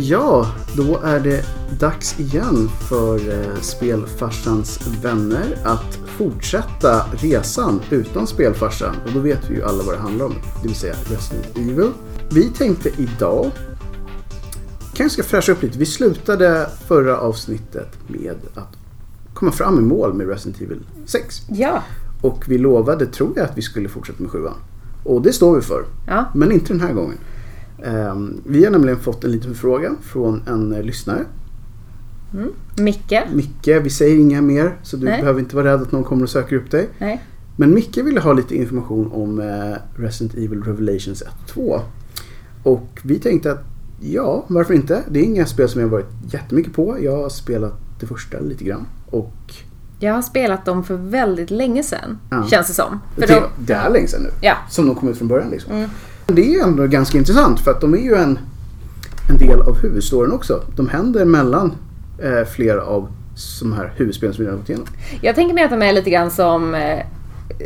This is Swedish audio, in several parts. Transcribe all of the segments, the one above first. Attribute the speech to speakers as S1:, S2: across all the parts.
S1: Ja, då är det dags igen för eh, Spelfarsans vänner att fortsätta resan utan Spelfarsan. Och då vet vi ju alla vad det handlar om, det vill säga Resident Evil. Vi tänkte idag kanske ska fräscha upp lite. Vi slutade förra avsnittet med att komma fram i mål med Resident Evil 6.
S2: Ja.
S1: Och vi lovade, tror jag, att vi skulle fortsätta med sjuan. Och det står vi för.
S2: Ja.
S1: Men inte den här gången. Ehm, Vi har nämligen fått en liten fråga från en eh, lyssnare.
S2: Micke.
S1: Micke, vi säger inga mer så du
S2: Nej.
S1: behöver inte vara rädd att någon kommer och söker upp dig.
S2: Nej.
S1: Men Micke ville ha lite information om eh, Resident Evil Revelations 1 och 2. Och vi tänkte att ja, varför inte? Det är inga spel som jag har varit jättemycket på. Jag har spelat det första lite grann. Och
S2: Jag har spelat dem för väldigt länge sedan.
S1: Ja.
S2: Känns det som.
S1: det,
S2: För de,
S1: det är länge sedan nu.
S2: ja.
S1: Som de kom ut från början liksom.
S2: Mm.
S1: Det är ju ändå ganska intressant för att de är ju en, en del av huvudstoryn också. De händer mellan eh, flera av de här huvudspelen som vi redan gått igenom.
S2: Jag tänker mig att de är lite grann som eh,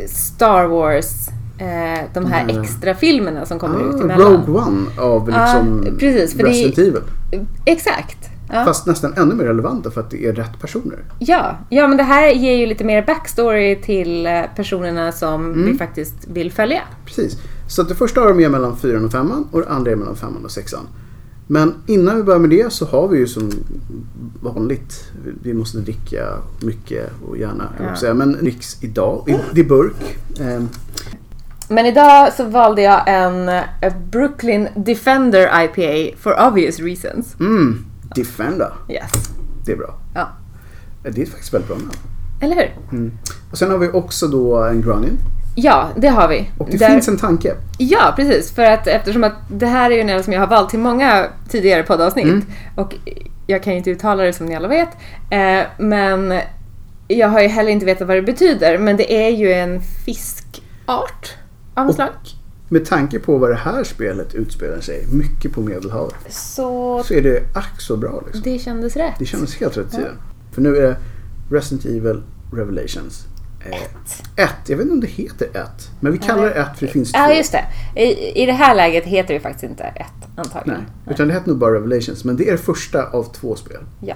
S2: Star Wars. Eh, de här
S1: Mm.
S2: extra filmerna som kommer ut
S1: Ah,
S2: emellan.
S1: Rogue One av liksom
S2: Ja, precis, för det är-
S1: Resident Evil.
S2: Eh, Exakt. Ja.
S1: Fast nästan ännu mer relevanta för att det är rätt personer.
S2: Ja. ja, men det här ger ju lite mer backstory till eh, personerna som
S1: Mm.
S2: vi faktiskt vill följa.
S1: Precis. Så att det första har de är mellan 4 och 5 och det andra är mellan 5 och 6. Men innan vi börjar med det så har vi ju som vanligt, vi måste dricka mycket och gärna, jag vill säga, men dricks idag. I, det är burk. Ehm,
S2: Men idag så valde jag en eh, Brooklyn Defender IPA for obvious reasons.
S1: Mm, Defender.
S2: Yes.
S1: Det är bra.
S2: Ja.
S1: Det är faktiskt väldigt bra namn.
S2: Eller hur?
S1: Och sen har vi också då en Grunin.
S2: Ja, det har vi.
S1: Och det
S2: Där-
S1: finns en tanke.
S2: Ja, precis. För att eftersom att det här är ju en öl som jag har valt till många tidigare poddavsnitt.
S1: Mm.
S2: Och jag kan ju inte uttala det som ni alla vet. Eh, men jag har ju heller inte vetat vad det betyder. Men det är ju en fiskart av något slag.
S1: Med tanke på vad det här spelet utspelar sig, mycket på Medelhavet,
S2: Så
S1: så är det ack så bra. Liksom.
S2: det kändes rätt.
S1: Det kändes helt rätt i tiden. För nu är det Resident Evil Revelations 1. Jag vet inte om det heter 1, men vi kallar det 1 för det finns två.
S2: Ja, just det. I, I det här läget heter det faktiskt inte ett, antagligen.
S1: Nej, utan det heter nog bara Revelations, men det är det första av två spel.
S2: Ja.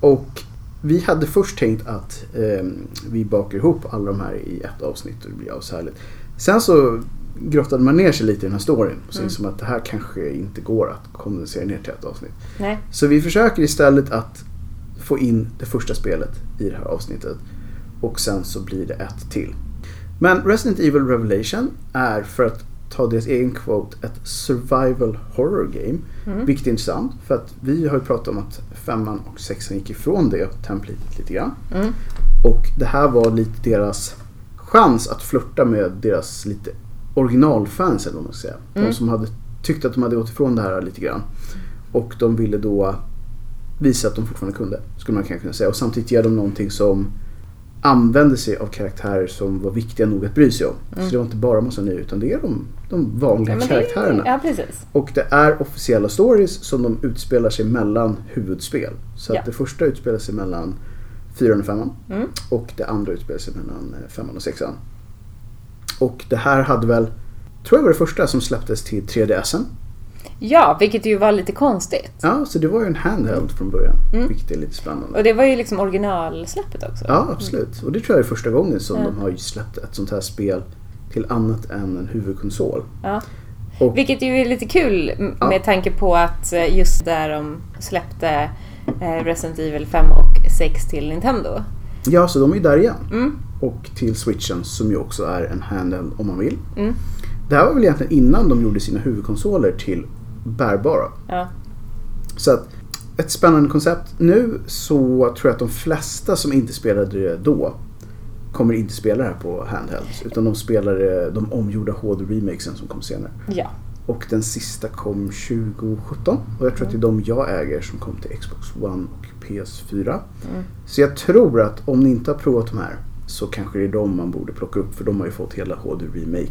S1: Och vi hade först tänkt att ehm, vi bakar ihop alla de här i ett avsnitt och det blir ashärligt. Sen så grottade man ner sig lite i den här storyn
S2: Mm.
S1: och så insåg man att det här kanske inte går att kondensera ner till ett avsnitt.
S2: Nej.
S1: Så vi försöker istället att få in det första spelet i det här avsnittet. Och sen så blir det ett till. Men Resident Evil Revelation är, för att ta deras egen quote, ett survival horror game. Vilket är intressant, för att vi har ju pratat om att femman och sexan gick ifrån det templatet lite grann.
S2: Mm.
S1: Och det här var lite deras chans att flirta med deras lite originalfans, eller vad man ska säga.
S2: Mm.
S1: De som hade tyckt att de hade gått ifrån det här lite grann. Och de ville då visa att de fortfarande kunde, skulle man kanske kunna säga. Och samtidigt ge dem någonting som använde sig av karaktärer som var viktiga nog att bry sig om. Så det var inte bara massa nya, utan det är de, de vanliga
S2: Men det-
S1: karaktärerna.
S2: Mm. Ja, precis.
S1: Och det är officiella stories som de utspelar sig mellan huvudspel. Så
S2: Ja.
S1: att det första utspelar sig mellan 4 och 5 och det andra utspelar sig mellan 5 och 6 Och det här hade väl, tror jag var det första som släpptes till 3DSen.
S2: Ja, vilket ju var lite konstigt.
S1: Ja, så det var ju en handheld från början, vilket är lite spännande.
S2: Och det var ju liksom originalsläppet också.
S1: Ja, absolut. Och det tror jag är första gången som de har släppt ett sånt här spel till annat än en huvudkonsol.
S2: Ja.
S1: Och-
S2: Vilket ju är lite kul m-
S1: Ja.
S2: med tanke på att eh, just där de släppte eh, Resident Evil 5 och 6 till Nintendo.
S1: Ja, så de är ju där igen.
S2: Mm.
S1: Och till switchen som ju också är en handheld om man vill.
S2: Mm.
S1: Det här var väl egentligen innan de gjorde sina huvudkonsoler till bärbara.
S2: Ja.
S1: Så att, ett spännande koncept. Nu så tror jag att de flesta som inte spelade det då kommer inte spela det här på handhelds. Utan de spelar det- de omgjorda HD-remakesen som kom senare.
S2: ja.
S1: Och den sista kom 2017. Och jag tror att det är de jag äger som kom till Xbox One och PS4.
S2: Mm.
S1: Så jag tror att om ni inte har provat de här så kanske det är de man borde plocka upp för de har ju fått hela HD
S2: Mm.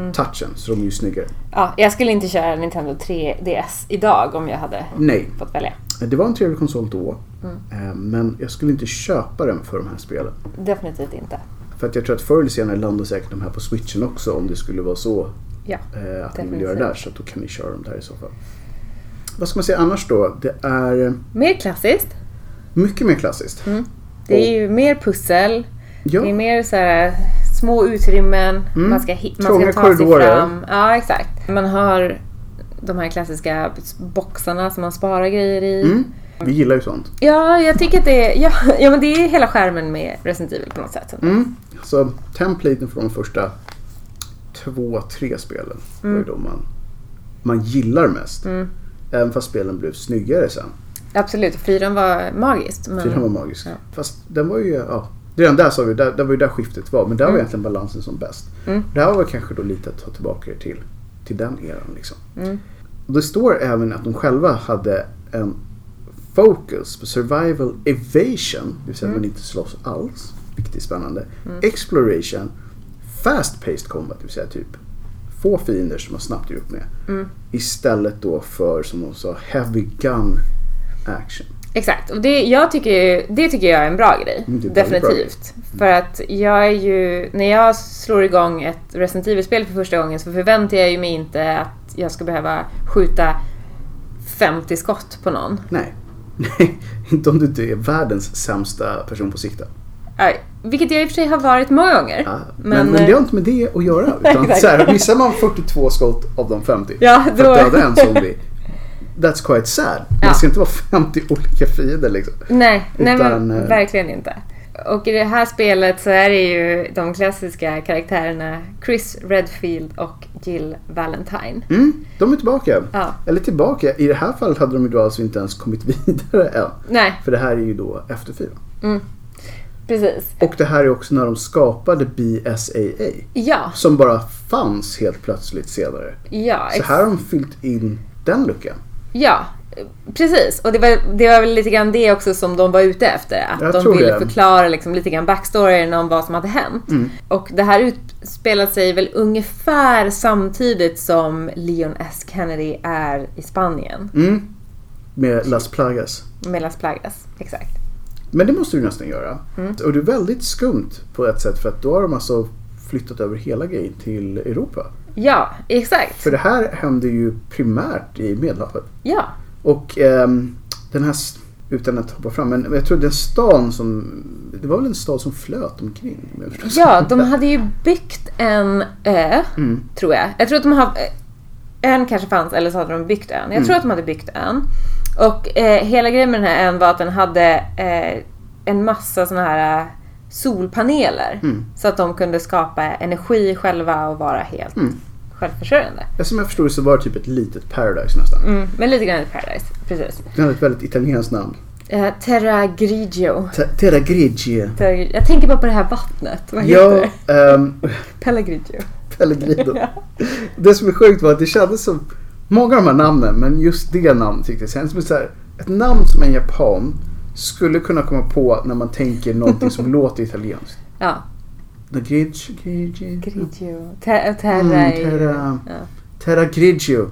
S1: Remake-touchen. Så de är ju snyggare.
S2: ja. Jag skulle inte köra Nintendo 3DS idag om jag hade
S1: Nej,
S2: fått välja.
S1: det var en trevlig konsol då.
S2: Mm.
S1: eh, Men jag skulle inte köpa den för de här spelen.
S2: Definitivt inte.
S1: För att jag tror att förr eller senare landar säkert de här på switchen också om det skulle vara så
S2: Ja.
S1: eh, att ni vill
S2: Definitivt.
S1: göra det där. Så att då kan ni köra dem där i så fall. Vad ska man säga annars då? Det är
S2: Mer klassiskt.
S1: mycket mer klassiskt.
S2: Det är ju mer pussel. Det är
S1: Ja,
S2: mer så här, eh, små utrymmen.
S1: Mm.
S2: Man ska, hi- man
S1: Trånga
S2: ska ta
S1: korridorer.
S2: sig fram. Ja, exakt. Man har de här klassiska boxarna som man sparar grejer i.
S1: mm. vi gillar ju sånt.
S2: Ja, jag tycker att det är, ja, ja, men det är hela skärmen med Resident Evil på något sätt.
S1: Mm. Så templaten från de första två, tre spelen var ju de man, man gillar mest.
S2: Mm.
S1: Även fast spelen blev snyggare sen.
S2: Absolut, fyran var magiskt. Men...
S1: Fyran var magisk.
S2: Ja.
S1: Fast den var ju, ja. Redan där sa vi, där, där var ju där skiftet var. Men där var egentligen balansen som bäst.
S2: Mm.
S1: Det här var väl kanske då lite att ta tillbaka er till, till den eran liksom.
S2: Mm.
S1: Och det står även att de själva hade en focus på survival evasion, det vill säga
S2: Mm.
S1: att man inte slåss alls, vilket är spännande. Exploration, fast paced combat, det vill säga typ få fiender som man snabbt gör upp med.
S2: Mm.
S1: Istället då för, som de sa, heavy gun action.
S2: Exakt, och det, jag tycker, ju- det tycker jag är en bra grej.
S1: Mm, det är väldigt Mm.
S2: Definitivt. För att jag är ju, när jag slår igång ett Resident Evil-spel för första gången så förväntar jag ju mig inte att jag ska behöva skjuta 50 skott på någon.
S1: Nej, nej, inte om du inte är världens sämsta person på sikta.
S2: Äh, Vilket jag i och för sig har varit många gånger.
S1: Ja, men, men, det
S2: eh,
S1: har inte med det att göra. Utan
S2: Exakt.
S1: så här, missar man 42 skott av de 50
S2: Ja,
S1: för
S2: då-
S1: att döda en zombie. That's quite sad. Men
S2: Ja.
S1: Det ska inte vara 50 olika fiender liksom.
S2: Nej, nej
S1: Utan,
S2: men
S1: eh,
S2: verkligen inte. Och i det här spelet så är det ju de klassiska karaktärerna Chris Redfield och Jill Valentine.
S1: Mm, de är tillbaka.
S2: Ja,
S1: Eller tillbaka. I det här fallet hade de ju då alltså inte ens kommit vidare än.
S2: nej,
S1: För det här är ju då efter fyra.
S2: precis.
S1: Och det här är också när de skapade BSAA.
S2: Ja,
S1: Som bara fanns helt plötsligt senare.
S2: ja,
S1: Så
S2: ex-
S1: här har de fyllt in den luckan.
S2: ja. Precis, och det var, det var väl lite grann det också som de var ute efter. Att
S1: Jag
S2: de
S1: tror
S2: ville
S1: det. Mm.
S2: förklara liksom lite grann backstoryn om vad som hade hänt. Och det här utspelar sig väl ungefär samtidigt som Leon S. Kennedy är i Spanien.
S1: Mm. Med Las Plagas.
S2: Med Las Plagas, exakt.
S1: Men det måste du nästan göra.
S2: Mm.
S1: Och det är väldigt skumt på ett sätt för att då har de alltså flyttat över hela grejen till Europa.
S2: Ja, exakt.
S1: För det här händer ju primärt i Medelhavet.
S2: Ja,
S1: Och ehm, den här, s- utan att hoppa fram, men jag tror den stan som, det var väl en stad som flöt omkring? om jag förstår
S2: ja
S1: det
S2: de
S1: rätt.
S2: hade ju byggt en ö,
S1: Mm.
S2: tror jag. Jag tror att de har... Ön kanske fanns, eller så hade de byggt ön. Jag
S1: Mm.
S2: tror att de hade byggt ön. Och eh, hela grejen med den här ön var att den hade eh, en massa såna här eh, solpaneler.
S1: Mm.
S2: Så att de kunde skapa energi själva och vara helt
S1: Mm.
S2: självförsörjande.
S1: Som jag förstod det så var det typ ett litet paradise nästan.
S2: Mm, men lite grann ett paradise, precis.
S1: Det hade ett väldigt italienskt namn.
S2: Eh, Terra Grigio.
S1: Te- Terra Grigie.
S2: Terra Grigio. Jag tänker bara på det här vattnet. Vad heter
S1: Ja,
S2: det?
S1: ehm,
S2: Pellegrigio.
S1: Pellegrino. Det som är sjukt var att det kändes som många av de här namnen, men just det namnet tyckte jag kändes som ett så här, ett namn som en japan skulle kunna komma på när man tänker någonting som låter italienskt.
S2: Ja,
S1: The Grigio, Grigio,
S2: Grigio. Ter- terra
S1: Mm,
S2: är ju-
S1: terra.
S2: Ja.
S1: Terra Grigio.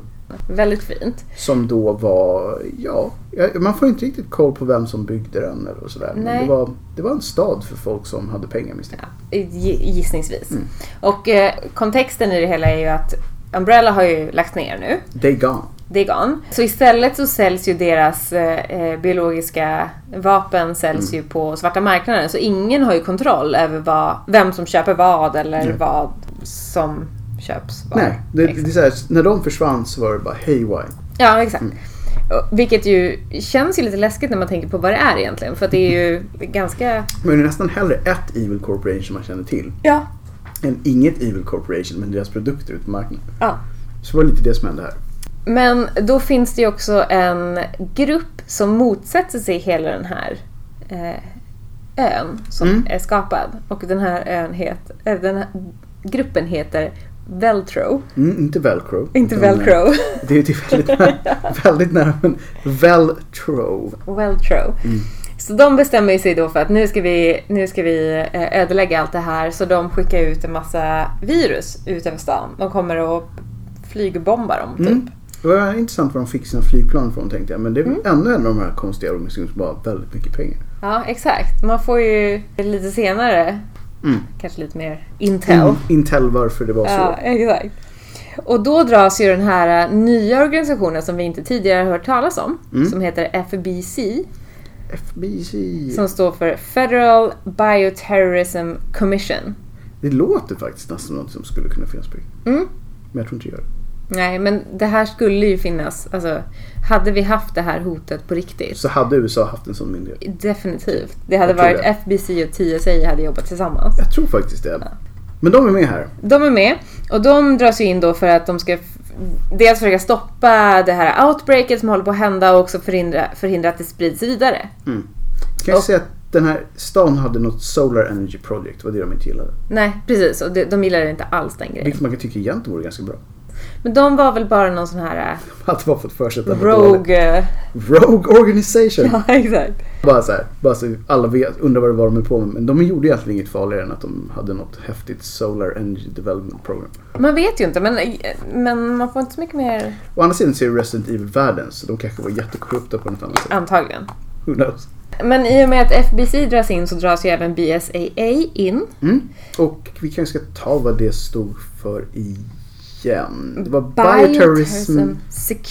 S2: Väldigt fint.
S1: Som då var, ja, man får inte riktigt koll på vem som byggde den eller sådär. Men
S2: Nej.
S1: det var, det var en stad för folk som hade pengar misstänker
S2: Ja, gi- gissningsvis.
S1: Mm.
S2: Och eh, kontexten i det hela är ju att Umbrella har ju lagts ner nu.
S1: jag. They gone.
S2: Det är gone. Så istället så säljs ju deras eh, eh, biologiska vapen säljs
S1: Mm.
S2: ju på svarta marknaden. Så ingen har ju kontroll över vad, vem som köper vad eller
S1: Nej.
S2: vad som köps vad.
S1: Nej, det, det
S2: Exakt.
S1: är så här, när de försvann så var det bara haywire.
S2: Ja, exakt.
S1: Mm.
S2: Och- Vilket ju känns ju lite läskigt när man tänker på vad det är egentligen. För att det är ju ganska...
S1: Men det är nästan hellre ett Evil Corporation som man känner till
S2: Ja.
S1: än inget Evil Corporation men deras produkter ute på marknaden.
S2: ja.
S1: Så det var lite det som hände här.
S2: Men då finns det ju också en grupp som motsätter sig hela den här eh, ön som
S1: Mm.
S2: är skapad. Och den här ön heter, eh, den här gruppen heter Veltro.
S1: Mm, inte Velcro.
S2: Inte
S1: utan, eh,
S2: Velcro.
S1: Det är det är väldigt nära, väldigt nära men Veltro.
S2: Veltro. Så de bestämmer sig då för att nu ska vi, nu ska vi eh, ödelägga allt det här. Så de skickar ut en massa virus ut över stan. De kommer och flygbombar dem typ.
S1: Mm. Det var intressant var de fick sina flygplan ifrån tänkte jag. Men det
S2: Mm.
S1: är väl ännu en av de här konstiga organisationerna som bara har väldigt mycket pengar.
S2: Ja, exakt. Man får ju lite senare
S1: Mm.
S2: kanske lite mer intel.
S1: In, Intel varför det var så.
S2: Ja, exakt. Och då dras ju den här eh, nya organisationen som vi inte tidigare har hört talas om,
S1: Mm.
S2: som heter FBC,
S1: FBC.
S2: som står för Federal Bioterrorism Commission.
S1: Det låter faktiskt nästan något som skulle kunna finnas på riktigt.
S2: Mm.
S1: Men jag tror inte det gör det.
S2: Nej, men det här skulle ju finnas. Alltså, hade vi haft det här hotet på riktigt?
S1: Så hade USA haft en sån myndighet.
S2: Definitivt. Det hade
S1: Jag tror
S2: varit
S1: det.
S2: FBC och TSA hade jobbat tillsammans.
S1: Jag tror faktiskt det. Men de är med här.
S2: De är med och de dras ju in då för att de ska f- dels försöka stoppa det här outbreaket som håller på att hända och också förhindra, förhindra att det sprids vidare.
S1: Kan jag
S2: Och-
S1: säga att den här stan hade något Solar Energy Project. Det var det de inte gillade.
S2: Nej, precis. Och de, de gillade inte alls den grejen.
S1: Vilket man kan tycka egentligen vore ganska bra.
S2: Men de var väl bara någon sån här
S1: Att bara fått för sig att
S2: äh,
S1: det var dåligt.
S2: rogue... eh,
S1: Rogue Organization.
S2: Ja, exakt.
S1: Bara så här, bara så alla vet, undrar vad det var de höll på med. Men de gjorde egentligen inget farligare än att de hade något häftigt Solar Energy Development Program.
S2: Man vet ju inte, men, eh, men man får inte så mycket mer
S1: Å andra sidan så är ju Resident Evil världens, så de kanske var jättekorrupta på något annat sätt.
S2: antagligen.
S1: Who knows?
S2: Men i och med att FBC dras in så dras ju även BSAA in.
S1: Mm. Och vi kanske ska ta vad det stod för igen. Det var Bioterrorism.
S2: Bioterrorism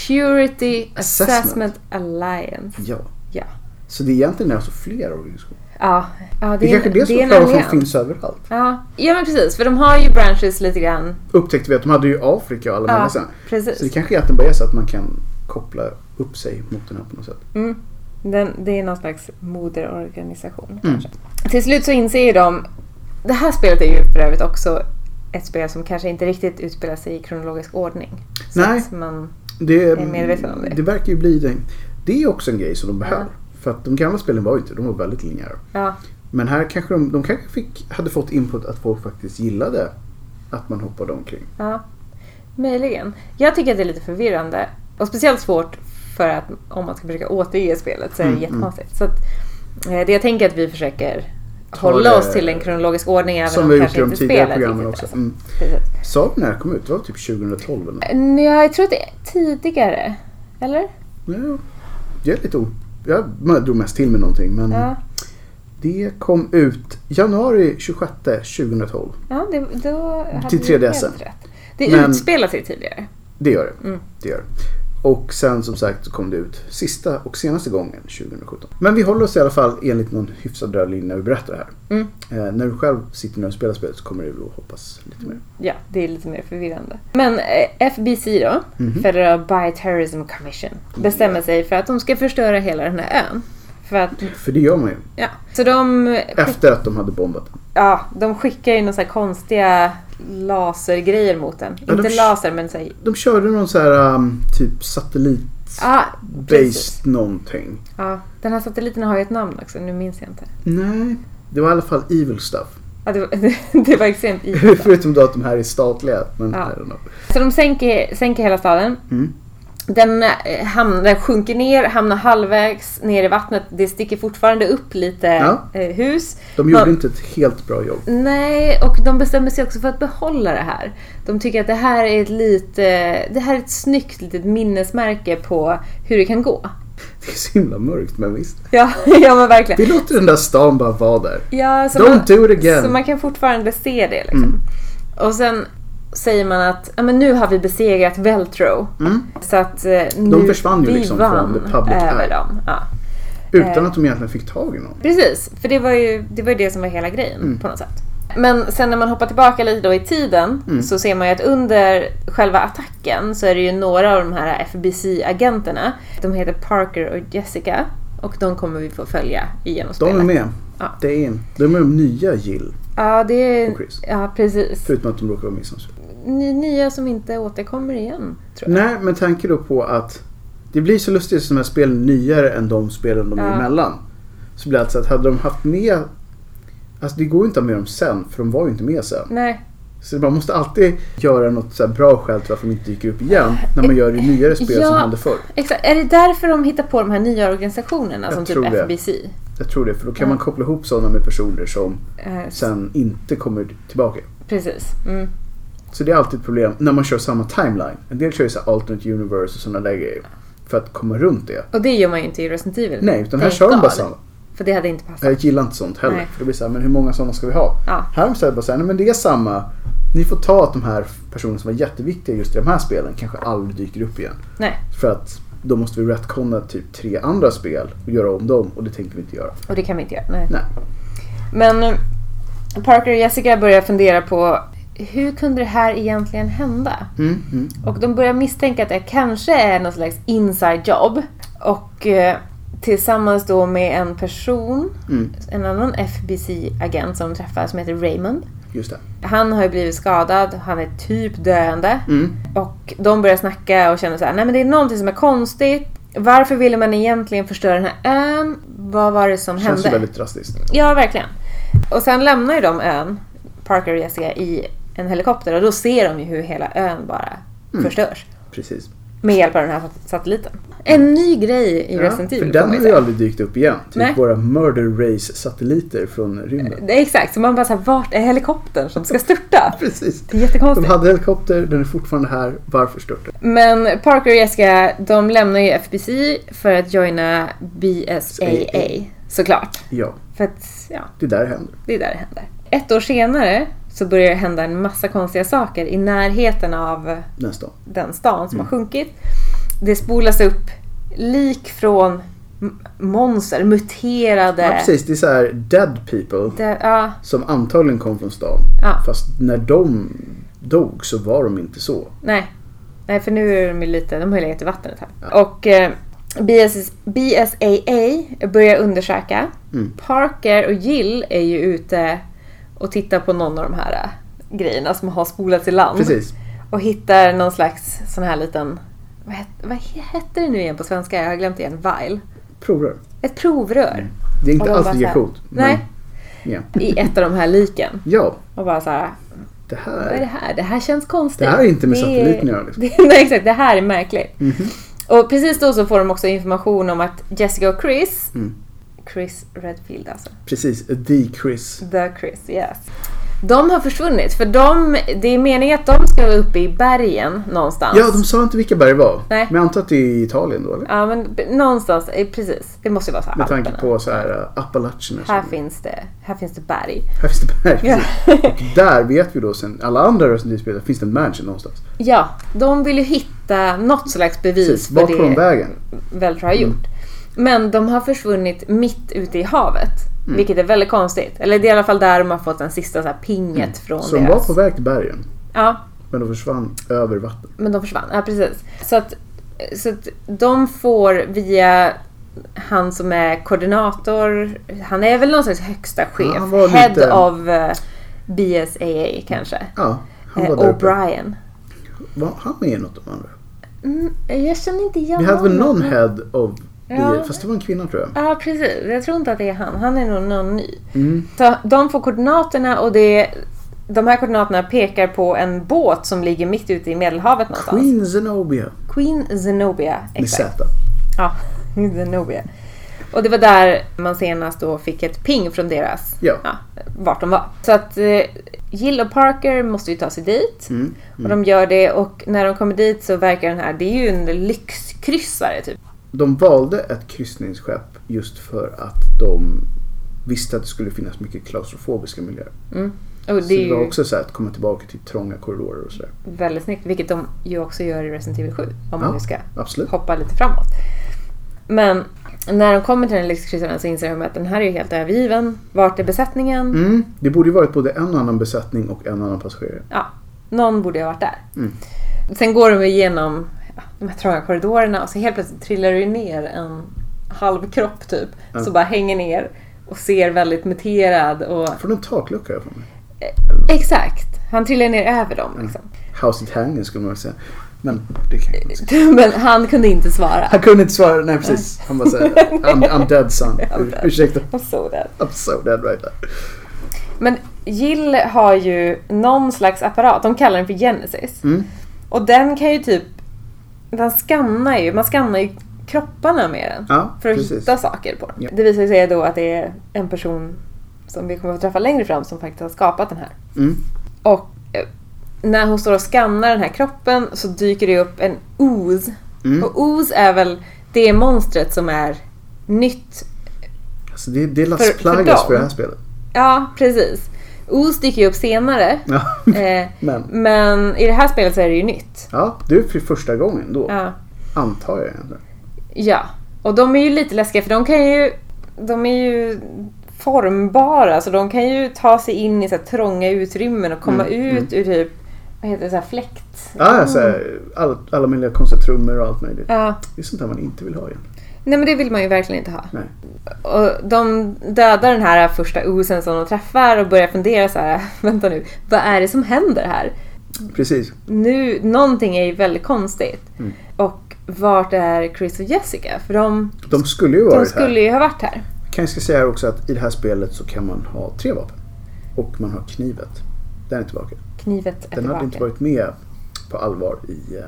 S2: Security
S1: Assessment.
S2: Assessment Alliance.
S1: Ja.
S2: Ja.
S1: Så det är egentligen alltså flera organisationer.
S2: Ja, ja
S1: Det är kanske det som
S2: en
S1: förklarar varför
S2: allians.
S1: de finns överallt.
S2: Ja. ja, men precis. För de har ju branches lite grann.
S1: Upptäckte vi att de hade ju Afrika och alla
S2: Ja,
S1: möjliga ställen. Så det
S2: precis.
S1: kanske egentligen bara är så att man kan koppla upp sig mot den här på något sätt.
S2: Den, det är någon slags moderorganisation.
S1: Mm.
S2: Kanske. Till slut så inser ju de... Det här spelet är ju för övrigt också ett spel som kanske inte riktigt utspelar sig i kronologisk ordning. Så
S1: Nej.
S2: att Man,
S1: Det,
S2: är medveten om det.
S1: det verkar ju bli det. Det är också en grej som de behöver. För att de gamla spelen var ju inte, de var väldigt linjära.
S2: ja,
S1: Men här kanske de, de kanske fick, hade fått input att folk faktiskt gillade att man hoppade omkring.
S2: ja. Möjligen. Jag tycker att det är lite förvirrande. Och speciellt svårt för att om man ska försöka återge spelet så är det
S1: Mm,
S2: jättekonstigt. Så att, eh, det jag tänker att vi försöker
S1: Ta
S2: hålla
S1: det-
S2: oss till en kronologisk ordning även
S1: Som
S2: om
S1: vi har gjort i
S2: kanske
S1: de
S2: inte
S1: tidigare
S2: spelet
S1: programmen
S2: riktigt alltså.
S1: också.
S2: är så.
S1: Mm.
S2: Precis.
S1: Sa vi när det kom ut? Det var typ 2012 eller något.
S2: Nej, Jag tror att det är tidigare. Eller?
S1: Mm. Ja, jag är lite o... Jag drog mest till med någonting men
S2: Ja.
S1: det kom ut januari 26 2012.
S2: ja det, då hade
S1: Till
S2: vi
S1: 3DS.
S2: helt rätt. Det
S1: Men-
S2: utspelar sig tidigare.
S1: Det gör det.
S2: Mm.
S1: det gör. det. Och sen som sagt så kom det ut sista och senaste gången 2017. Men vi håller oss i alla fall enligt någon hyfsad röd linje när vi berättar det här.
S2: Mm.
S1: Eh, när du själv sitter när du spelar spelet så kommer du att hoppas lite mer.
S2: Ja, det är lite mer förvirrande. Men eh, FBC då,
S1: Mhm.
S2: Federal Bioterrorism Commission, bestämmer sig för att de ska förstöra hela den här ön. För att,
S1: För det gör man ju
S2: ja. Så de,
S1: efter att de hade bombat.
S2: ja, de skickar ju några så här konstiga lasergrejer mot den.
S1: Ja, de
S2: Inte
S1: sk-
S2: laser, men så här,
S1: De körde någon så här um, typ satellit
S2: ah, precis.
S1: based någonting.
S2: Ja, den här satelliten har ju ett namn också, nu minns jag inte.
S1: Nej, det var i alla fall evil stuff.
S2: Ja, det, var, det var extremt ivrigt.
S1: Förutom då att de här är statliga. Men
S2: Ja.
S1: I don't know.
S2: Så de sänker, sänker hela staden.
S1: Mm.
S2: Den, eh, hamnar, den sjunker ner, hamnar halvvägs ner i vattnet. Det sticker fortfarande upp lite
S1: Ja.
S2: eh, hus.
S1: De gjorde
S2: Ja.
S1: inte ett helt bra jobb.
S2: Nej, och de bestämmer sig också för att behålla det här. De tycker att det här är ett lite, det här är ett snyggt litet minnesmärke på hur det kan gå.
S1: Det är så himla mörkt men visst.
S2: Ja, ja men verkligen.
S1: Vi låter den där stan bara vara där.
S2: Ja, så
S1: Don't do it
S2: Så
S1: again. Mm.
S2: man kan fortfarande se det liksom. Och sen säger man att ja, men nu har vi besegrat Veltro.
S1: Mm.
S2: Så att eh, nu
S1: De försvann ju
S2: vi
S1: liksom från
S2: vann
S1: the public
S2: över
S1: eye.
S2: dem. Ja. Eh.
S1: Utan att de egentligen fick tag i någon.
S2: Precis, för det var ju det, var ju det som var hela grejen
S1: Mm.
S2: på något sätt. Men sen när man hoppar tillbaka lite då i tiden
S1: Mm.
S2: så ser man ju att under själva attacken så är det ju några av de här FBC-agenterna. De heter Parker och Jessica och de kommer vi få följa igenom
S1: De är
S2: spelet.
S1: med.
S2: Ja.
S1: Det är in. De är de nya Jill.
S2: Ja, det är...
S1: Och Chris.
S2: Ja, precis.
S1: Förutom att de råkar vara med som
S2: Ny, nya som inte återkommer igen, tror jag.
S1: Nej, men tanke då på att det blir så lustigt som de här spelen är nyare än de spelen de är
S2: Ja.
S1: emellan. Så blir det alltså att hade de haft med... Alltså det går ju inte att ha med dem sen för de var ju inte med sen.
S2: Nej,
S1: Så man måste alltid göra något så här bra skäl till varför de inte dyker upp igen när man gör det i nyare spel
S2: Ja.
S1: som hände förr.
S2: exakt. Är det därför de hittar på de här nya organisationerna
S1: Jag
S2: som
S1: tror
S2: typ
S1: det.
S2: FBC?
S1: Jag tror det, för då kan man koppla ihop sådana med personer som
S2: Eh, s-
S1: sen inte kommer tillbaka.
S2: precis. Mm.
S1: Så det är alltid ett problem när man kör samma timeline. En del kör ju så här alternate universe och sådana där grejer för att komma runt det.
S2: Och det gör man ju inte i Resident Evil.
S1: Nej, utan här
S2: Thank
S1: kör de bara
S2: God.
S1: samma.
S2: För det hade inte passat.
S1: Jag gillar inte sånt heller.
S2: Nej.
S1: För då blir det så här, men hur många sådana ska vi ha?
S2: Ja.
S1: Här har de så här bara så här, nej men det är samma Ni får ta att de här personerna som var jätteviktiga just i de här spelen kanske aldrig dyker upp igen.
S2: Nej.
S1: För att då måste vi retconna typ tre andra spel och göra om dem och det tänker vi inte göra.
S2: Och det kan vi inte göra. Nej.
S1: Nej.
S2: Men eh, Parker och Jessica börjar fundera på hur kunde det här egentligen hända?
S1: Mm, mm.
S2: Och de börjar misstänka att det kanske är någon slags inside job. Och eh, tillsammans då med en person,
S1: Mm.
S2: en annan FBC-agent som de träffar som heter Raymond.
S1: Just det.
S2: Han har ju blivit skadad, han är typ döende.
S1: Mm.
S2: Och de börjar snacka och känner så här, nej men det är någonting som är konstigt. Varför ville man egentligen förstöra den här ön? Vad var det som
S1: Känns ju
S2: hände?
S1: väldigt drastiskt.
S2: Ja, verkligen. Och sen lämnar ju de ön, Parker och Jessica, i en helikopter och då ser de ju hur hela ön bara
S1: Mm.
S2: förstörs.
S1: Precis.
S2: Med hjälp av den här sat- satelliten. En ny grej i Resident
S1: Mm. för
S2: Evil. får
S1: den har
S2: man ju
S1: ju
S2: säga.
S1: aldrig dykt upp igen. Typ
S2: Nej.
S1: våra Murder Race-satelliter från rymden.
S2: Det är exakt, så man bara såhär, vart är helikoptern som ska störta?
S1: Precis.
S2: Det är
S1: De
S2: jättekonstigt.
S1: hade helikopter, den är fortfarande här. Varför störtade den?
S2: Men Parker och Jessica, de lämnar ju FBC för att joina BSAA. Såklart.
S1: Ja,
S2: För att, ja,
S1: det där händer.
S2: det är där det händer. Ett år senare så börjar det hända en massa konstiga saker i närheten av
S1: Nästa.
S2: den stan som har sjunkit. Det spolas upp lik från m- monster, muterade.
S1: Ja, precis. Det är så här dead people
S2: Det, ja,
S1: som antagligen kom från stan.
S2: Ja.
S1: Fast när de dog så var de inte så.
S2: nej. Nej, för nu är de ju lite, de har ju legat i vattnet här. Och eh, BS, BSAA börjar undersöka.
S1: Mm.
S2: Parker och Jill är ju ute och tittar på någon av de här eh, grejerna som har spolats i land.
S1: Precis.
S2: Och hittar någon slags sån här liten, vad, het, vad hette det nu igen på svenska? Jag har glömt igen, vial.
S1: Provrör.
S2: Ett provrör.
S1: Det är
S2: Och
S1: inte
S2: de
S1: alls
S2: bara
S1: lika
S2: så här,
S1: coolt. men-
S2: Nej,
S1: Ja.
S2: i ett av de här liken.
S1: ja,
S2: Och bara så här,
S1: det
S2: vad är
S1: här.
S2: det här? Det här känns konstigt.
S1: Det här är inte med
S2: Det-
S1: satelliten att göra, liksom.
S2: Det- Nej, exakt. Det här är märkligt.
S1: Mhm.
S2: Och precis då så får de också information om att Jessica och Chris,
S1: Mm.
S2: Chris Redfield alltså,
S1: Precis. A decrease.
S2: the Chris, yes. De har försvunnit för de, det är meningen att de ska vara uppe i bergen någonstans.
S1: Ja, de sa inte vilka berg det var.
S2: Nej.
S1: Men jag antar att det är i Italien då, eller?
S2: Ja, men b- någonstans, eh, precis. Det måste ju vara så här.
S1: Med tanke
S2: Alperna.
S1: på så här uh, Appalacherna.
S2: Här
S1: som-
S2: finns det, här finns det berg.
S1: här finns det berg.
S2: Ja.
S1: precis. Och där vet vi då sen alla andra Resident Evil-spel finns det en mansion någonstans.
S2: Ja, de vill ju hitta något slags bevis
S1: Precis.
S2: för
S1: Vart
S2: det.
S1: får de vägen?
S2: Veltra har
S1: Mm.
S2: gjort. Men de har försvunnit mitt ute i havet.
S1: Mm.
S2: Vilket är väldigt konstigt. Eller det är i alla fall där de har fått den sista så här pinget från
S1: Så de Mm. var
S2: deras...
S1: på väg till bergen.
S2: Ja,
S1: Men de försvann över vatten.
S2: men de försvann. Ja, precis. Så att, så att de får via han som är koordinator. Han är väl någon slags högsta chef.
S1: Ja, han var
S2: head
S1: lite-
S2: of eh, BSAA kanske.
S1: Ja, han
S2: Eh,
S1: var där uppe.
S2: O'Brien.
S1: Var han med i något av de andra?
S2: Mm, jag känner inte igen
S1: Vi hade väl
S2: honom.
S1: någon head of...
S2: Ja.
S1: Fast det var en kvinna tror jag.
S2: Ja, precis. Jag tror inte att det är han. Han är nog någon ny. Så de får koordinaterna och det, de här koordinaterna pekar på en båt som ligger mitt ute i Medelhavet någonstans. Queen,
S1: Queen Zenobia.
S2: Zenobia.
S1: Med
S2: Exakt.
S1: Z.
S2: Ja, Zenobia. Och det var där man senast då fick ett ping från deras,
S1: Ja.
S2: vart de var. Så att eh, Jill och Parker måste ju ta sig dit.
S1: Mm.
S2: Och de gör det och när de kommer dit så verkar den här, det är ju en lyxkryssare typ.
S1: De valde ett kryssningsskepp just för att de visste att det skulle finnas mycket klaustrofobiska miljöer.
S2: Och
S1: Så
S2: det är
S1: det var
S2: ju
S1: också så här att komma tillbaka till trånga korridorer och sådär.
S2: väldigt snyggt, vilket de ju också gör i Resident Evil 7. Om man nu ska
S1: absolut.
S2: hoppa lite framåt. Men när de kommer till den lyxkryssaren så inser de att den här är ju helt övergiven. Vart är besättningen?
S1: Mm. Det borde ju varit både en annan besättning och en annan passagerare.
S2: Ja, någon borde ha varit där.
S1: Mm.
S2: Sen går de igenom ja, de här trånga korridorerna och så helt plötsligt trillar det ju ner en halv kropp typ.
S1: Ja.
S2: Som bara hänger ner och ser väldigt muterad och...
S1: Från en taklucka har jag för mig.
S2: Exakt! Han trillar ner över dem liksom.
S1: House it hanging skulle man väl säga. Men det kan jag inte säga.
S2: Men han kunde inte svara.
S1: Han kunde inte svara, nej precis. Han bara såhär, I'm, I'm dead son. Ur, ursäkta,
S2: Han såg det.
S1: I'm so dead right now.
S2: Men Jill har ju någon slags apparat, de kallar den för Genesis.
S1: Mm.
S2: Och den kan ju typ... Den skannar ju, man skannar ju kropparna med den.
S1: Ja,
S2: för att
S1: precis.
S2: hitta saker på dem.
S1: Ja.
S2: Det visar sig då att det är en person som vi kommer att träffa längre fram som faktiskt har skapat den här.
S1: Mm.
S2: Och eh, när hon står och skannar den här kroppen så dyker det upp en ooz.
S1: Mm.
S2: Och ooz är väl det monstret som är nytt
S1: Alltså det, det är Las
S2: För- för
S1: Plagas för,
S2: dem.
S1: det här spelet.
S2: Ja, precis. Oz dyker ju upp senare.
S1: Ja,
S2: Eh,
S1: men.
S2: men i det här spelet så är det ju nytt.
S1: Ja, det är för första gången då.
S2: Ja.
S1: Antar jag egentligen.
S2: ja. Och de är ju lite läskiga för de kan ju... De är ju formbara så de kan ju ta sig in i så här trånga utrymmen och komma
S1: Mm,
S2: ut ur typ... Vad heter det? Så här fläkt?
S1: Ja, så här, all, alla möjliga konstiga trummor och allt möjligt.
S2: Ja.
S1: Det är sånt där man inte vill ha egentligen.
S2: Nej men det vill man ju verkligen inte ha.
S1: Nej.
S2: Och de dödar den här första osen som de träffar och börjar fundera så här, vänta nu, vad är det som händer här?
S1: Precis.
S2: Nu, någonting är ju väldigt konstigt.
S1: Mm.
S2: Och vart är Chris och Jessica? För de,
S1: De skulle ju
S2: de
S1: varit här.
S2: skulle ju ha varit här.
S1: Kan jag ska säga här också att i det här spelet så kan man ha tre vapen. Och man har knivet. Den är tillbaka.
S2: Knivet är
S1: Den hade inte
S2: tillbaka.
S1: varit med på allvar i eh,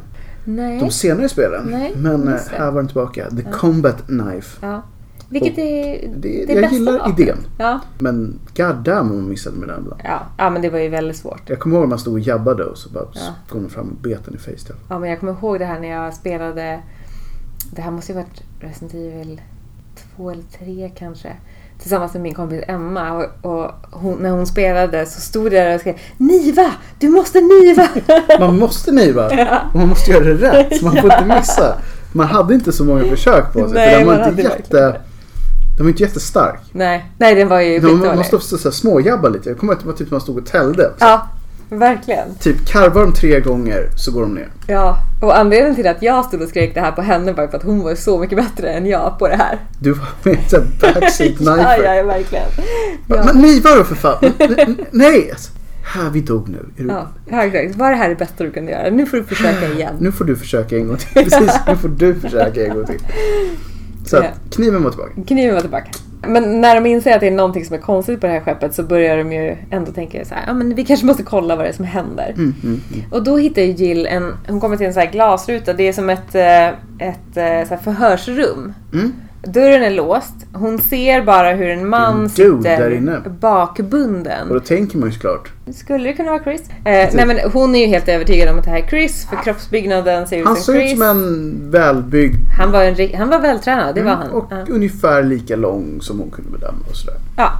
S2: Nej.
S1: de senare spelen.
S2: Nej,
S1: men eh,
S2: just det.
S1: här var den tillbaka. The Combat Knife.
S2: Ja. Vilket är
S1: Det,
S2: det
S1: jag
S2: bästa
S1: gillar
S2: vapnet.
S1: idén.
S2: Ja.
S1: Men god damn hon missade med den ibland.
S2: Ja. ja, men det var ju väldigt svårt.
S1: Jag kommer ihåg när man stod och jabbade och så bara
S2: Ja.
S1: kom de fram och bet en i facetail.
S2: Ja, men jag kommer ihåg det här när jag spelade... Det här måste ju varit Resident Evil 2 eller 3 kanske. Tillsammans med min kompis Emma. Och, och hon, när hon spelade så stod jag där och skrek Niva! Du måste niva!
S1: Man måste niva och man måste göra det rätt. Så man får inte missa. Man hade inte så många försök på sig.
S2: Nej,
S1: för den
S2: man
S1: var inte
S2: hade
S1: jätte, den var inte jättestark.
S2: nej, nej, den var ju
S1: Man
S2: skitdålig.
S1: man måste också så här småjabba lite. Jag kommer ihåg att det var typ man stod och tällde.
S2: Ja, verkligen.
S1: Typ karvar de tre gånger så går de ner.
S2: Ja, och anledningen till att jag stod och skrek det här på henne var ju för att hon var så mycket bättre än jag på det här.
S1: Du var med i så här backseat
S2: ja,
S1: knifer.
S2: ja, verkligen. Ja.
S1: Men niva då för fan. N- n- Nej! Alltså, här, vi dog nu. Är du,
S2: Ja, ja, exakt. Vad är det här är bättre du kunde göra? Nu får du försöka igen.
S1: Nu får du försöka en gång till. Precis, nu får du försöka en gång till. Så
S2: Ja.
S1: att kniven var tillbaka.
S2: Kniven var tillbaka. Men när de inser att det är någonting som är konstigt på det här skeppet så börjar de ju ändå tänka så här, ja men vi kanske måste kolla vad det är som
S1: Mm.
S2: händer. Och då hittar ju Jill en, hon kommer till en så här glasruta, det är som ett, eh, ett eh, så här förhörsrum.
S1: Mm.
S2: Dörren är låst, hon ser bara hur en man
S1: dude
S2: sitter
S1: där inne.
S2: bakbunden.
S1: Och då tänker man ju såklart.
S2: Skulle det kunna vara Chris? Eh, nej men hon är ju helt övertygad om att det här är Chris, för kroppsbyggnaden ser ut
S1: Han
S2: som
S1: ser ut
S2: Chris.
S1: som en välbyggd
S2: Han var, en, ri- han var vältränad, det var han.
S1: Mm, och
S2: Ja.
S1: ungefär lika lång som hon kunde bedöma och sådär.
S2: Ja.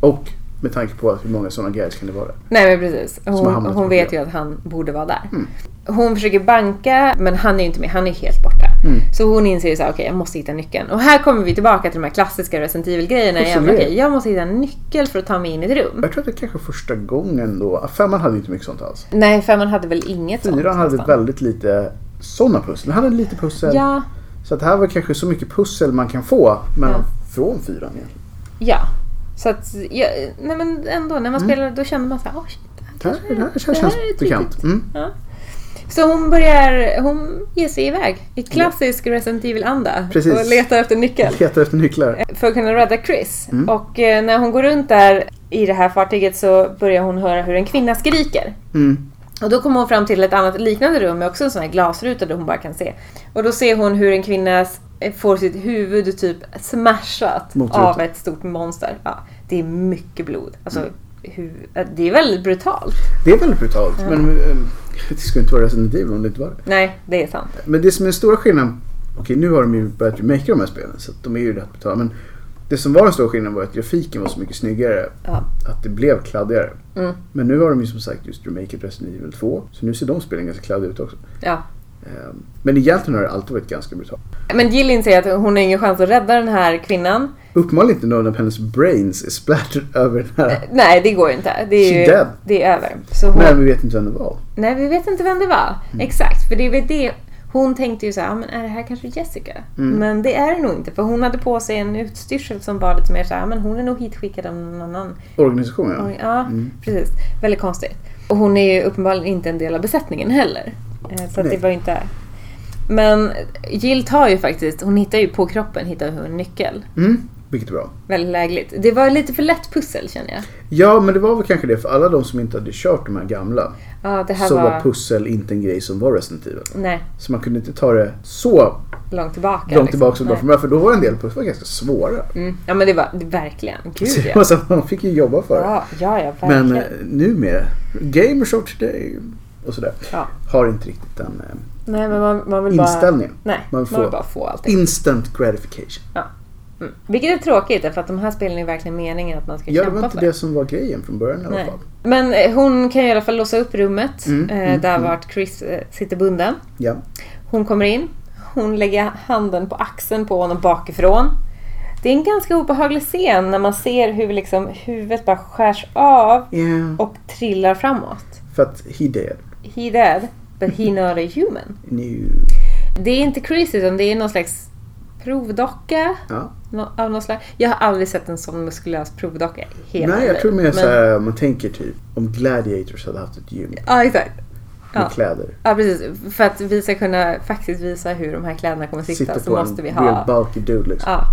S1: Och med tanke på att hur många sådana guys kan det vara?
S2: Nej men precis.
S1: har
S2: Hon,
S1: hamnat
S2: hon
S1: på
S2: vet ju
S1: fel.
S2: att han borde vara där.
S1: Mm.
S2: Hon försöker banka men han är ju inte med, han är helt borta.
S1: Mm.
S2: Så hon inser ju såhär, okej jag måste hitta nyckeln. Och här kommer vi tillbaka till de här klassiska Resident Evil-grejerna igen.
S1: Absolut.
S2: Okej, jag måste hitta en nyckel för att ta mig in i ett rum.
S1: Jag tror att det kanske första gången då. Femman hade inte mycket sånt alls.
S2: Nej, femman hade väl inget sånt
S1: Fyran hade
S2: nästan.
S1: väldigt lite sådana pussel. Han hade lite pussel.
S2: Ja,
S1: Så att det här var kanske så mycket pussel man kan få. Men
S2: Ja.
S1: från fyran egentligen.
S2: ja. Så att, ja, nej men ändå när man spelar då känner man såhär, åh shit.
S1: Mm. Det här, det här
S2: Det
S1: känns
S2: här är ett
S1: bekant.
S2: riktigt-
S1: Mm.
S2: Ja. Så hon börjar, hon ger sig iväg i klassisk Resident Evil-anda.
S1: Precis.
S2: Och letar efter nyckeln.
S1: Letar efter nycklar.
S2: för att kunna rädda Chris.
S1: Mm.
S2: Och eh, när hon går runt där i det här fartyget så börjar hon höra hur en kvinna skriker.
S1: Mm.
S2: Och då kommer hon fram till ett annat liknande rum med också en sån här glasruta där hon bara kan se. Och då ser hon hur en kvinna s- får sitt huvud typ smashat
S1: Mot
S2: av
S1: rutan. Mm.
S2: ett stort monster. Ja, det är mycket blod. Alltså, hu- eh, det är väldigt brutalt.
S1: Det är väldigt brutalt. Men eh, det skulle inte vara Resident Evil om det inte var det.
S2: Nej, det är sant.
S1: Men det som är den stora skillnaden. Okej, nu har de ju börjat remakea de här spelen. Så att de är ju rätt brutala. Men det som var den stora skillnaden var att grafiken var så mycket snyggare.
S2: Ja.
S1: Att det blev kladdigare.
S2: Mm,
S1: Men nu har de ju som sagt just remakeat Resident Evil 2. Så nu ser de spelen ganska kladdiga ut också.
S2: Ja.
S1: Eh, Men egentligen har det alltid varit ganska brutalt.
S2: Men Jill inser att hon har ingen chans att rädda den här kvinnan.
S1: Uppenbarligen inte någon av hennes brains är splattered över den här.
S2: Nej, det går ju inte. Det
S1: She
S2: är, ju,
S1: dead.
S2: det är över. Så hon,
S1: Men vi vet inte vem det var.
S2: Nej, vi vet inte vem det var.
S1: Mm.
S2: Exakt, för det är väl det. Hon tänkte ju så här, "Ah, men är det här kanske Jessica?
S1: Mm.
S2: Men det är det nog inte, för hon hade på sig en utstyrsel som var lite mer så här, "Ah, men hon är nog hitskickad av någon annan.
S1: Organisationen ja. Mm.
S2: Ja, precis. Väldigt konstigt. Och hon är ju uppenbarligen inte en del av besättningen heller. Eh, Så att det
S1: Nej.
S2: var ju inte... Men Jill tar ju faktiskt, hon hittar ju på kroppen hittar hon en nyckel.
S1: Mm, vilket är bra.
S2: Väldigt lägligt. Det var lite för lätt pussel känner jag.
S1: Ja, men det var väl kanske det för alla de som inte hade kört de här gamla.
S2: Ja, det här
S1: så var...
S2: var...
S1: pussel inte en grej som var Resident Evil.
S2: Nej,
S1: Så man kunde inte ta det så
S2: långt tillbaka.
S1: långt tillbaka som det
S2: liksom. Nej.
S1: var från början. För då var en del pussel var ganska svåra.
S2: Mm. Ja men det var det, verkligen. Gud ja.
S1: Så alltså, man fick ju jobba för det.
S2: Ja, ja, ja verkligen.
S1: Men eh, numera, gamers of today och sådär.
S2: ja.
S1: Har inte riktigt den eh,
S2: Nej men man, man vill bara...
S1: inställningen.
S2: Nej,
S1: man
S2: man,
S1: får-
S2: vill bara få allting.
S1: Instant gratification.
S2: Ja. Mm. Vilket är tråkigt därför att de här spelen är verkligen meningen att man ska
S1: Ja, det
S2: kämpa
S1: var inte
S2: för.
S1: det som var grejen från början i alla
S2: Nej.
S1: fall.
S2: Men eh, hon kan i alla fall låsa upp rummet
S1: Mm,
S2: eh,
S1: mm,
S2: där
S1: mm.
S2: vart Chris eh, sitter bunden.
S1: Ja.
S2: Hon kommer in. Hon lägger handen på axeln på honom bakifrån. Det är en ganska obehaglig scen när man ser hur liksom huvudet bara skärs av
S1: Yeah.
S2: och trillar framåt.
S1: För att he did.
S2: He dead, but he not a human.
S1: Nu.
S2: Det är inte Chris utan det är någon slags provdocka.
S1: Ja.
S2: nå- Av någon slags. Jag har aldrig sett en sån muskulös provdocka i hela
S1: Nej,
S2: mitt
S1: jag
S2: liv.
S1: tror mer
S2: Men-
S1: såhär, om man tänker typ om Gladiators hade haft ett gym med
S2: Ja, exakt. Ja.
S1: kläder.
S2: Ja precis, för att vi ska kunna faktiskt visa hur de här kläderna kommer sitta, så måste vi
S1: real
S2: ha...
S1: bulky dude liksom.
S2: Ja.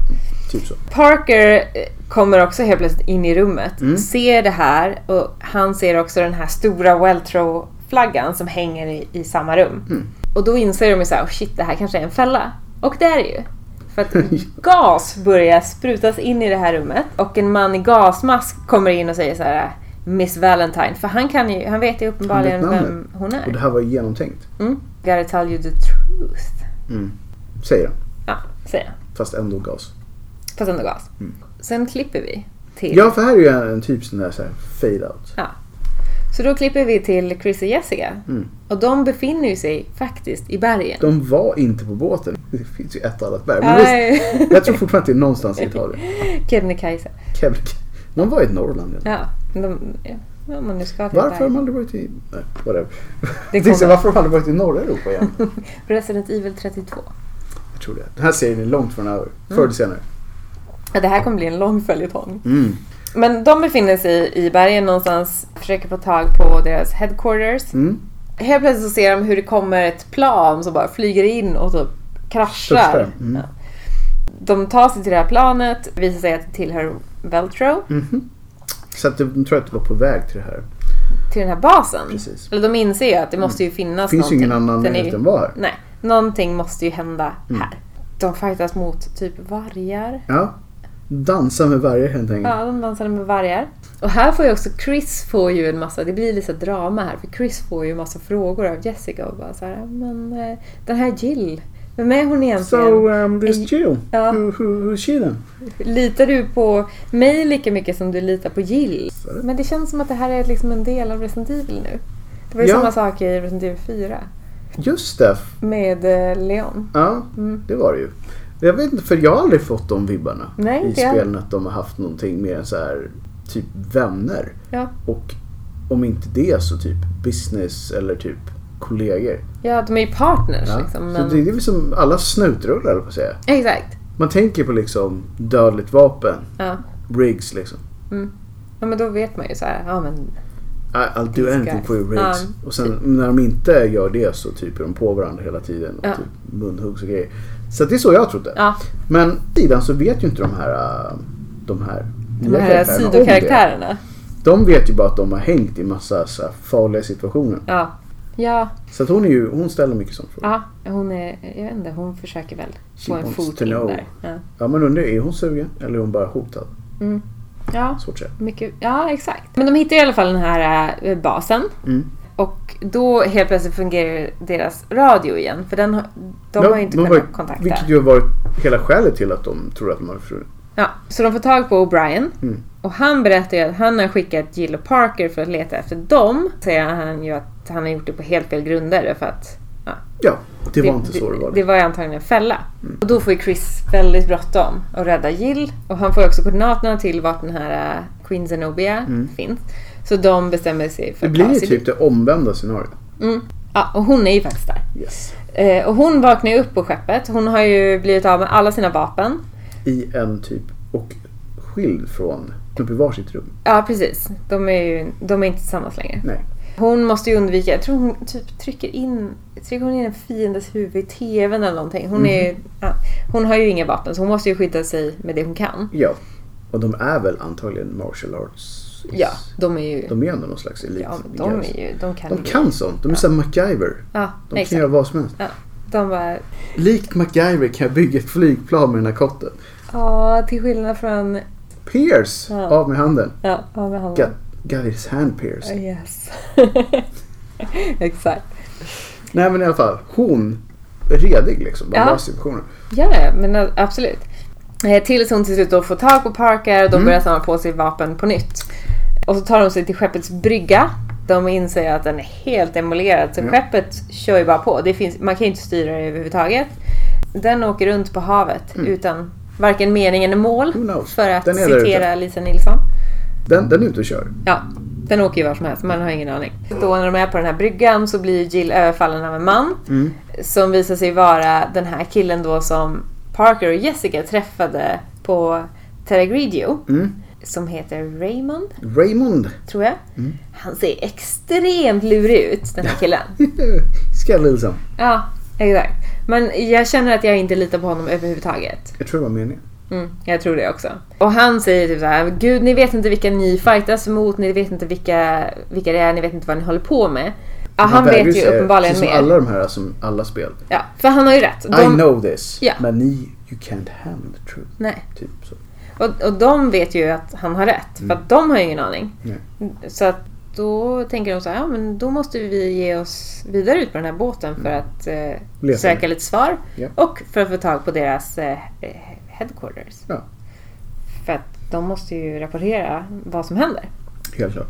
S1: Typ så.
S2: Parker eh, kommer också helt plötsligt in i rummet,
S1: Mm.
S2: ser det här och han ser också den här stora Weltro-flaggan som hänger i, i samma rum.
S1: Mm.
S2: Och då inser de ju såhär, oh shit det här kanske är en fälla. Och det är det ju. För att gas börjar sprutas in i det här rummet och en man i gasmask kommer in och säger så här: Miss Valentine. För han kan ju, han vet ju uppenbarligen
S1: namnet.
S2: vem hon är.
S1: Och det här var ju genomtänkt.
S2: Mm. Gotta tell you the truth.
S1: Mm. Säger han.
S2: Ja, säger han.
S1: Fast ändå gas.
S2: Fast ändå gas. Sen klipper vi till...
S1: Mm. Ja, för här är ju en, en typ sån där så här fade out.
S2: Ja. Så då klipper vi till Chris och Jessica.
S1: Mm.
S2: Och de befinner ju sig faktiskt i bergen.
S1: De var inte på båten. Det finns ju ett annat berg. Men visst,
S2: Nej.
S1: jag tror fortfarande att det är någonstans i Italien.
S2: Kebnekaise.
S1: Kebnekaise. De var i Norrland. Ja.
S2: Ja, men de... Ja, om man nu ska till ett
S1: Varför har
S2: berg.
S1: de aldrig varit i... Nej, whatever.
S2: Det
S1: Jag tänkte säga,
S2: kommer.
S1: varför har de aldrig varit i norra Europa igen?
S2: Resident Evil 32.
S1: Jag tror det. Den här serien är långt från över. Förr eller senare.
S2: Ja, det här kommer bli en lång följetong.
S1: Mm.
S2: Men de befinner sig i bergen någonstans. Försöker få tag på deras headquarters.
S1: Mm.
S2: Helt plötsligt så ser de hur det kommer ett plan som bara flyger in och typ kraschar.
S1: Studsar, mm.
S2: Ja. De tar sig till det här planet, visar sig att det tillhör Veltro,
S1: Mhm. Så att de tror att det var på väg till det här.
S2: till den här basen.
S1: Precis.
S2: Eller de inser ju att det måste ju finnas
S1: Det finns ju ingen
S2: någonting.
S1: annan Mm.
S2: Den är
S1: möjlighet
S2: ju-
S1: än att vara här.
S2: Nej, någonting måste ju hända här. De fightas mot typ vargar.
S1: Ja. Dansa med varje helt enkelt.
S2: Ja, de dansade med vargar. Och här får ju också Chris får ju en massa, det blir lite drama här, för Chris får ju en massa frågor av Jessica och bara så här, men eh, den här Jill, vem är hon egentligen?
S1: So um, this Jill,
S2: Ja.
S1: who, who, who's she then?
S2: Litar du på mig lika mycket som du litar på Jill?
S1: Så är det.
S2: Men det känns som att det här är liksom en del av Resident Evil nu. Det var ju
S1: Ja.
S2: samma sak i Resident Evil 4
S1: Just det.
S2: med eh, Leon.
S1: Ja,
S2: Mm.
S1: det var det ju. Jag vet inte, för jag har aldrig fått de vibbarna
S2: Nej,
S1: i
S2: det har-
S1: spelen att de har haft någonting mer än så här typ vänner.
S2: Ja.
S1: Och om inte det så typ business eller typ kollegor.
S2: ja, de är ju partners
S1: Ja.
S2: liksom.
S1: Så
S2: Men...
S1: det, det är väl som alla snutrullar höll jag på att säga.
S2: Exakt.
S1: Man tänker på liksom dödligt vapen,
S2: Ja.
S1: rigs liksom.
S2: ja, men då vet man ju så här, ja men
S1: I, I'll do
S2: These
S1: anything
S2: guys.
S1: for you rigs.
S2: Ja.
S1: Och sen när de inte gör det så typ är de på varandra hela tiden. Och
S2: Ja.
S1: typ munhuggs och grejer. Så att det är så jag trodde.
S2: ja,
S1: Men å sidan så vet ju inte de här, äh, de här
S2: de
S1: nya
S2: här
S1: karaktärerna om det.
S2: sidokaraktärerna.
S1: De vet ju bara att de har hängt i massa så här farliga situationer.
S2: Ja. Ja,
S1: Så att hon, är ju, hon ställer mycket sånt frågor.
S2: ja, hon är, jag vet inte, hon försöker väl
S1: She
S2: få en
S1: wants
S2: fot
S1: to
S2: in
S1: know.
S2: där. Ja.
S1: Ja men undrar, är hon sugen eller är hon bara hotad?
S2: ja,
S1: Svårt att säga.
S2: mycket, ja exakt. Men de hittar i alla fall den här eh, basen.
S1: Mm.
S2: Och då helt plötsligt fungerar deras radio igen. För den, har- de
S1: Ja,
S2: har ju inte
S1: de
S2: kunnat
S1: var ju-
S2: kontakta.
S1: Vilket ju har varit hela skälet till att de tror att de har försvunnit.
S2: Ja, så de får tag på O'Brien.
S1: Mm.
S2: Och han berättar ju att han har skickat Jill och Parker för att leta efter dem. Säger han ju att han har gjort det på helt fel grunder. För att
S1: Ja, det, var inte så det var. Mm.
S2: Det var ju antagligen en fälla. Och då får ju Chris väldigt bråttom att rädda Jill. Och han får också koordinaterna till vart den här äh, Queen Zenobia finns. Så de bestämmer sig för
S1: Mm. Det blir
S2: ta
S1: ju
S2: sig
S1: typ
S2: dit.
S1: det omvända scenariot.
S2: Mm. Ja, och hon är ju faktiskt där.
S1: Yes.
S2: Eh, och hon vaknar ju upp på skeppet. Hon har ju blivit av med alla sina vapen.
S1: I en typ och skild från, upp i varsitt rum.
S2: Ja, precis. De är ju de är inte tillsammans längre.
S1: Nej.
S2: Hon måste ju undvika, jag tror hon typ trycker in, trycker hon in en fiendes huvud i TVn eller någonting. Hon, är,
S1: Mhm.
S2: ju- ja, hon har ju inga vapen så hon måste ju skydda sig med det hon kan.
S1: Ja. Och de är väl antagligen martial arts.
S2: Ja, de är ju...
S1: De är ändå någon slags elit.
S2: ja, men de, är ju, de kan
S1: De
S2: ju-
S1: kan sånt. De är som MacGyver.
S2: Ja,
S1: De kan
S2: exakt.
S1: göra vad som helst.
S2: Ja, de bara,
S1: Likt MacGyver kan jag bygga ett flygplan med den här kotten.
S2: ja till skillnad från...
S1: Pierce!
S2: Ja.
S1: Av med handen.
S2: Ja, vad med handen.
S1: Got, got his hand pierced.
S2: Yes. exakt.
S1: Nej men i alla fall, hon är redig liksom. Bara
S2: Ja.
S1: ja. situationen.
S2: Ja, ja, men absolut. Eh, Tills hon till slut då får tag på Parker och
S1: Mm.
S2: de börjar samla på sig vapen på nytt. Och så tar de sig till skeppets brygga. De inser att den är helt demolerad så skeppet kör ju bara på. Det finns, man kan ju inte styra det överhuvudtaget. Den åker runt på havet utan varken mening eller mål.
S1: Who knows?
S2: För att
S1: Mm. Den är där ute.
S2: citera Lisa Nilsson.
S1: Den, den är ute och kör.
S2: Ja, den åker ju var som helst. Man har ingen aning. Då när de är på den här bryggan så blir Jill överfallen av en man. Som visar sig vara den här killen då som Parker och Jessica träffade på Terragridio. Som heter Raymond,
S1: Raymond.
S2: tror jag. Han ser extremt lurig ut, den här killen.
S1: Skallilsson.
S2: ja, exakt. Men jag känner att jag inte litar på honom överhuvudtaget.
S1: Jag tror det var meningen.
S2: Mm, jag tror det också. Och han säger typ så här: Gud ni vet inte vilka ni fightas mot, ni vet inte vilka, vilka det är, ni vet inte vad ni håller på med. Ja, han
S1: vägrar
S2: vet ju
S1: säga,
S2: uppenbarligen
S1: precis
S2: mer.
S1: som alla de här som alla spel.
S2: Ja, för han har ju rätt.
S1: I
S2: De,
S1: know this.
S2: Ja.
S1: Men ni, you can't handle the truth.
S2: nej.
S1: Typ så.
S2: Och, och de vet ju att han har rätt, för att de har ju ingen aning.
S1: Mm. Nej.
S2: Så att då tänker de så här, ja men då måste vi ge oss vidare ut på den här båten för att eh,
S1: Mm. Leta.
S2: söka lite svar.
S1: Ja.
S2: Och för att få tag på deras eh, headquarters.
S1: Ja,
S2: För att de måste ju rapportera vad som händer.
S1: helt klart.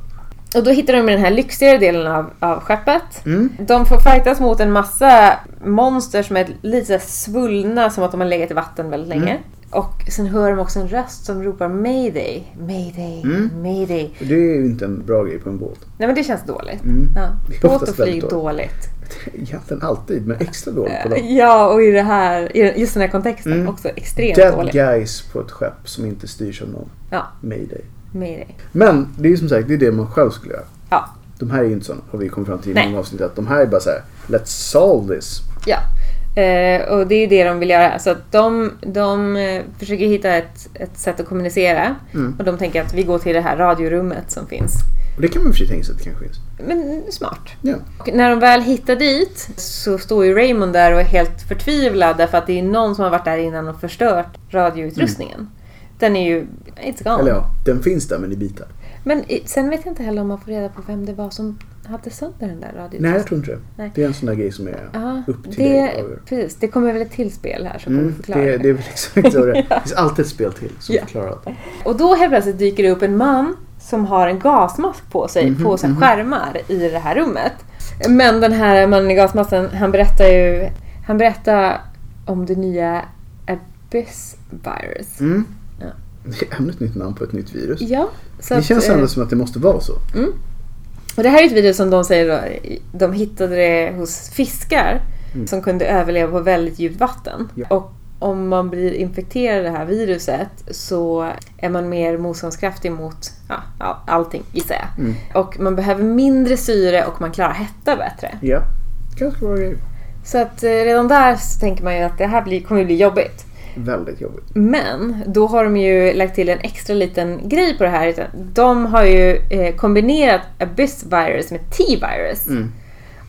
S2: Och då hittar de den här lyxigare delen av, av skeppet.
S1: Mm.
S2: De får fightas mot en massa monster som är lite så här svullna som att de har legat i vatten väldigt
S1: Mm.
S2: länge. Och sen hör de också en röst som ropar mayday, mayday,
S1: Mm.
S2: mayday.
S1: Och Det är ju inte en bra grej på en båt.
S2: Nej men det känns dåligt.
S1: Mm.
S2: Ja.
S1: Det är
S2: Båt och
S1: oftast väldigt
S2: flyg dåligt.
S1: Egentligen alltid, men extra
S2: Äh,
S1: dåligt på dem.
S2: Ja och i, det här, i just den här kontexten
S1: Mm.
S2: också extremt
S1: Dead
S2: dåligt.
S1: guys på ett skepp som inte styrs av någon.
S2: Ja,
S1: Mayday.
S2: mayday.
S1: Men det är ju som sagt, det är det man själv skulle göra.
S2: Ja.
S1: De här är ju inte sådana, har vi kommit fram till i
S2: Nej.
S1: många avsnitt. Att de här är bara så här: let's solve this.
S2: Ja, eh, och det är ju det de vill göra. Så att de, de eh, försöker hitta ett, ett sätt att kommunicera.
S1: Mm.
S2: Och de tänker att vi går till det här radiorummet som finns.
S1: Och det kan man i och för sig tänka sig att det kanske finns.
S2: Men smart.
S1: Ja.
S2: Och när de väl hittar dit så står ju Raymond där och är helt förtvivlad därför att det är någon som har varit där innan och förstört radioutrustningen. Den är ju... It's gone.
S1: Mm. Eller ja, den finns där men i bitar.
S2: Men i- sen vet jag inte heller om man får reda på vem det var som hade sönder den där radioutrustningen.
S1: Nej, jag tror inte det.
S2: Nej.
S1: Det är en sån där grej som är
S2: Ja,
S1: upp till dig.
S2: det,
S1: att avgöra.
S2: precis, det kommer väl ett till spel här som
S1: Mm,
S2: kommer förklara
S1: det, det är väl exakt så det är. Det finns alltid ett spel till som
S2: Ja.
S1: förklarar allt.
S2: Och då helt plötsligt dyker det upp en man som har en gasmask på sig
S1: Mhm,
S2: på så här skärmar i det här rummet. Men den här mannen i gasmasken, han berättar ju han berättar om det nya Abyss virus.
S1: Mm.
S2: Ja.
S1: Det är ännu ett nytt namn på ett nytt virus.
S2: Ja, så
S1: det känns
S2: eh,
S1: ändå som att det måste vara så.
S2: Och det här är ett video som de säger då, de hittade det hos fiskar som kunde överleva på väldigt djupt vatten.
S1: Ja.
S2: Och om man blir infekterad av det här viruset så är man mer motståndskraftig mot ja, all- allting gissar jag. Och man behöver mindre syre och man klarar hetta bättre.
S1: Ja, ganska bra grej.
S2: Så att eh, redan där så tänker man ju att det här blir, kommer ju bli jobbigt.
S1: Väldigt jobbigt.
S2: Men då har de ju lagt till en extra liten grej på det här. Utan De har ju eh, kombinerat Abyss virus med T-virus.
S1: Mm.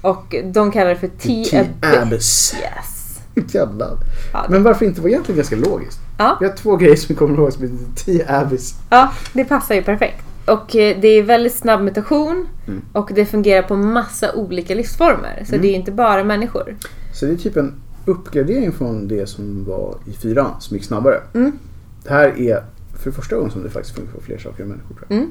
S2: Och de kallar det för T-Abyss.
S1: T-Abyss.
S2: Yes.
S1: Jävlar.
S2: Ja, det-
S1: Men varför inte? Det var egentligen ganska logiskt.
S2: Ja.
S1: Vi har två grejer som kommer ihåg som heter T-Abyss.
S2: ja, det passar ju perfekt. Och eh, det är väldigt snabb mutation
S1: Mm.
S2: och det fungerar på massa olika livsformer. Så det är ju inte bara människor.
S1: Så det är typ en uppgradering från det som var i fyran som gick snabbare.
S2: Mm.
S1: Det här är för första gången som det faktiskt funkar på fler saker än människor. Tror jag.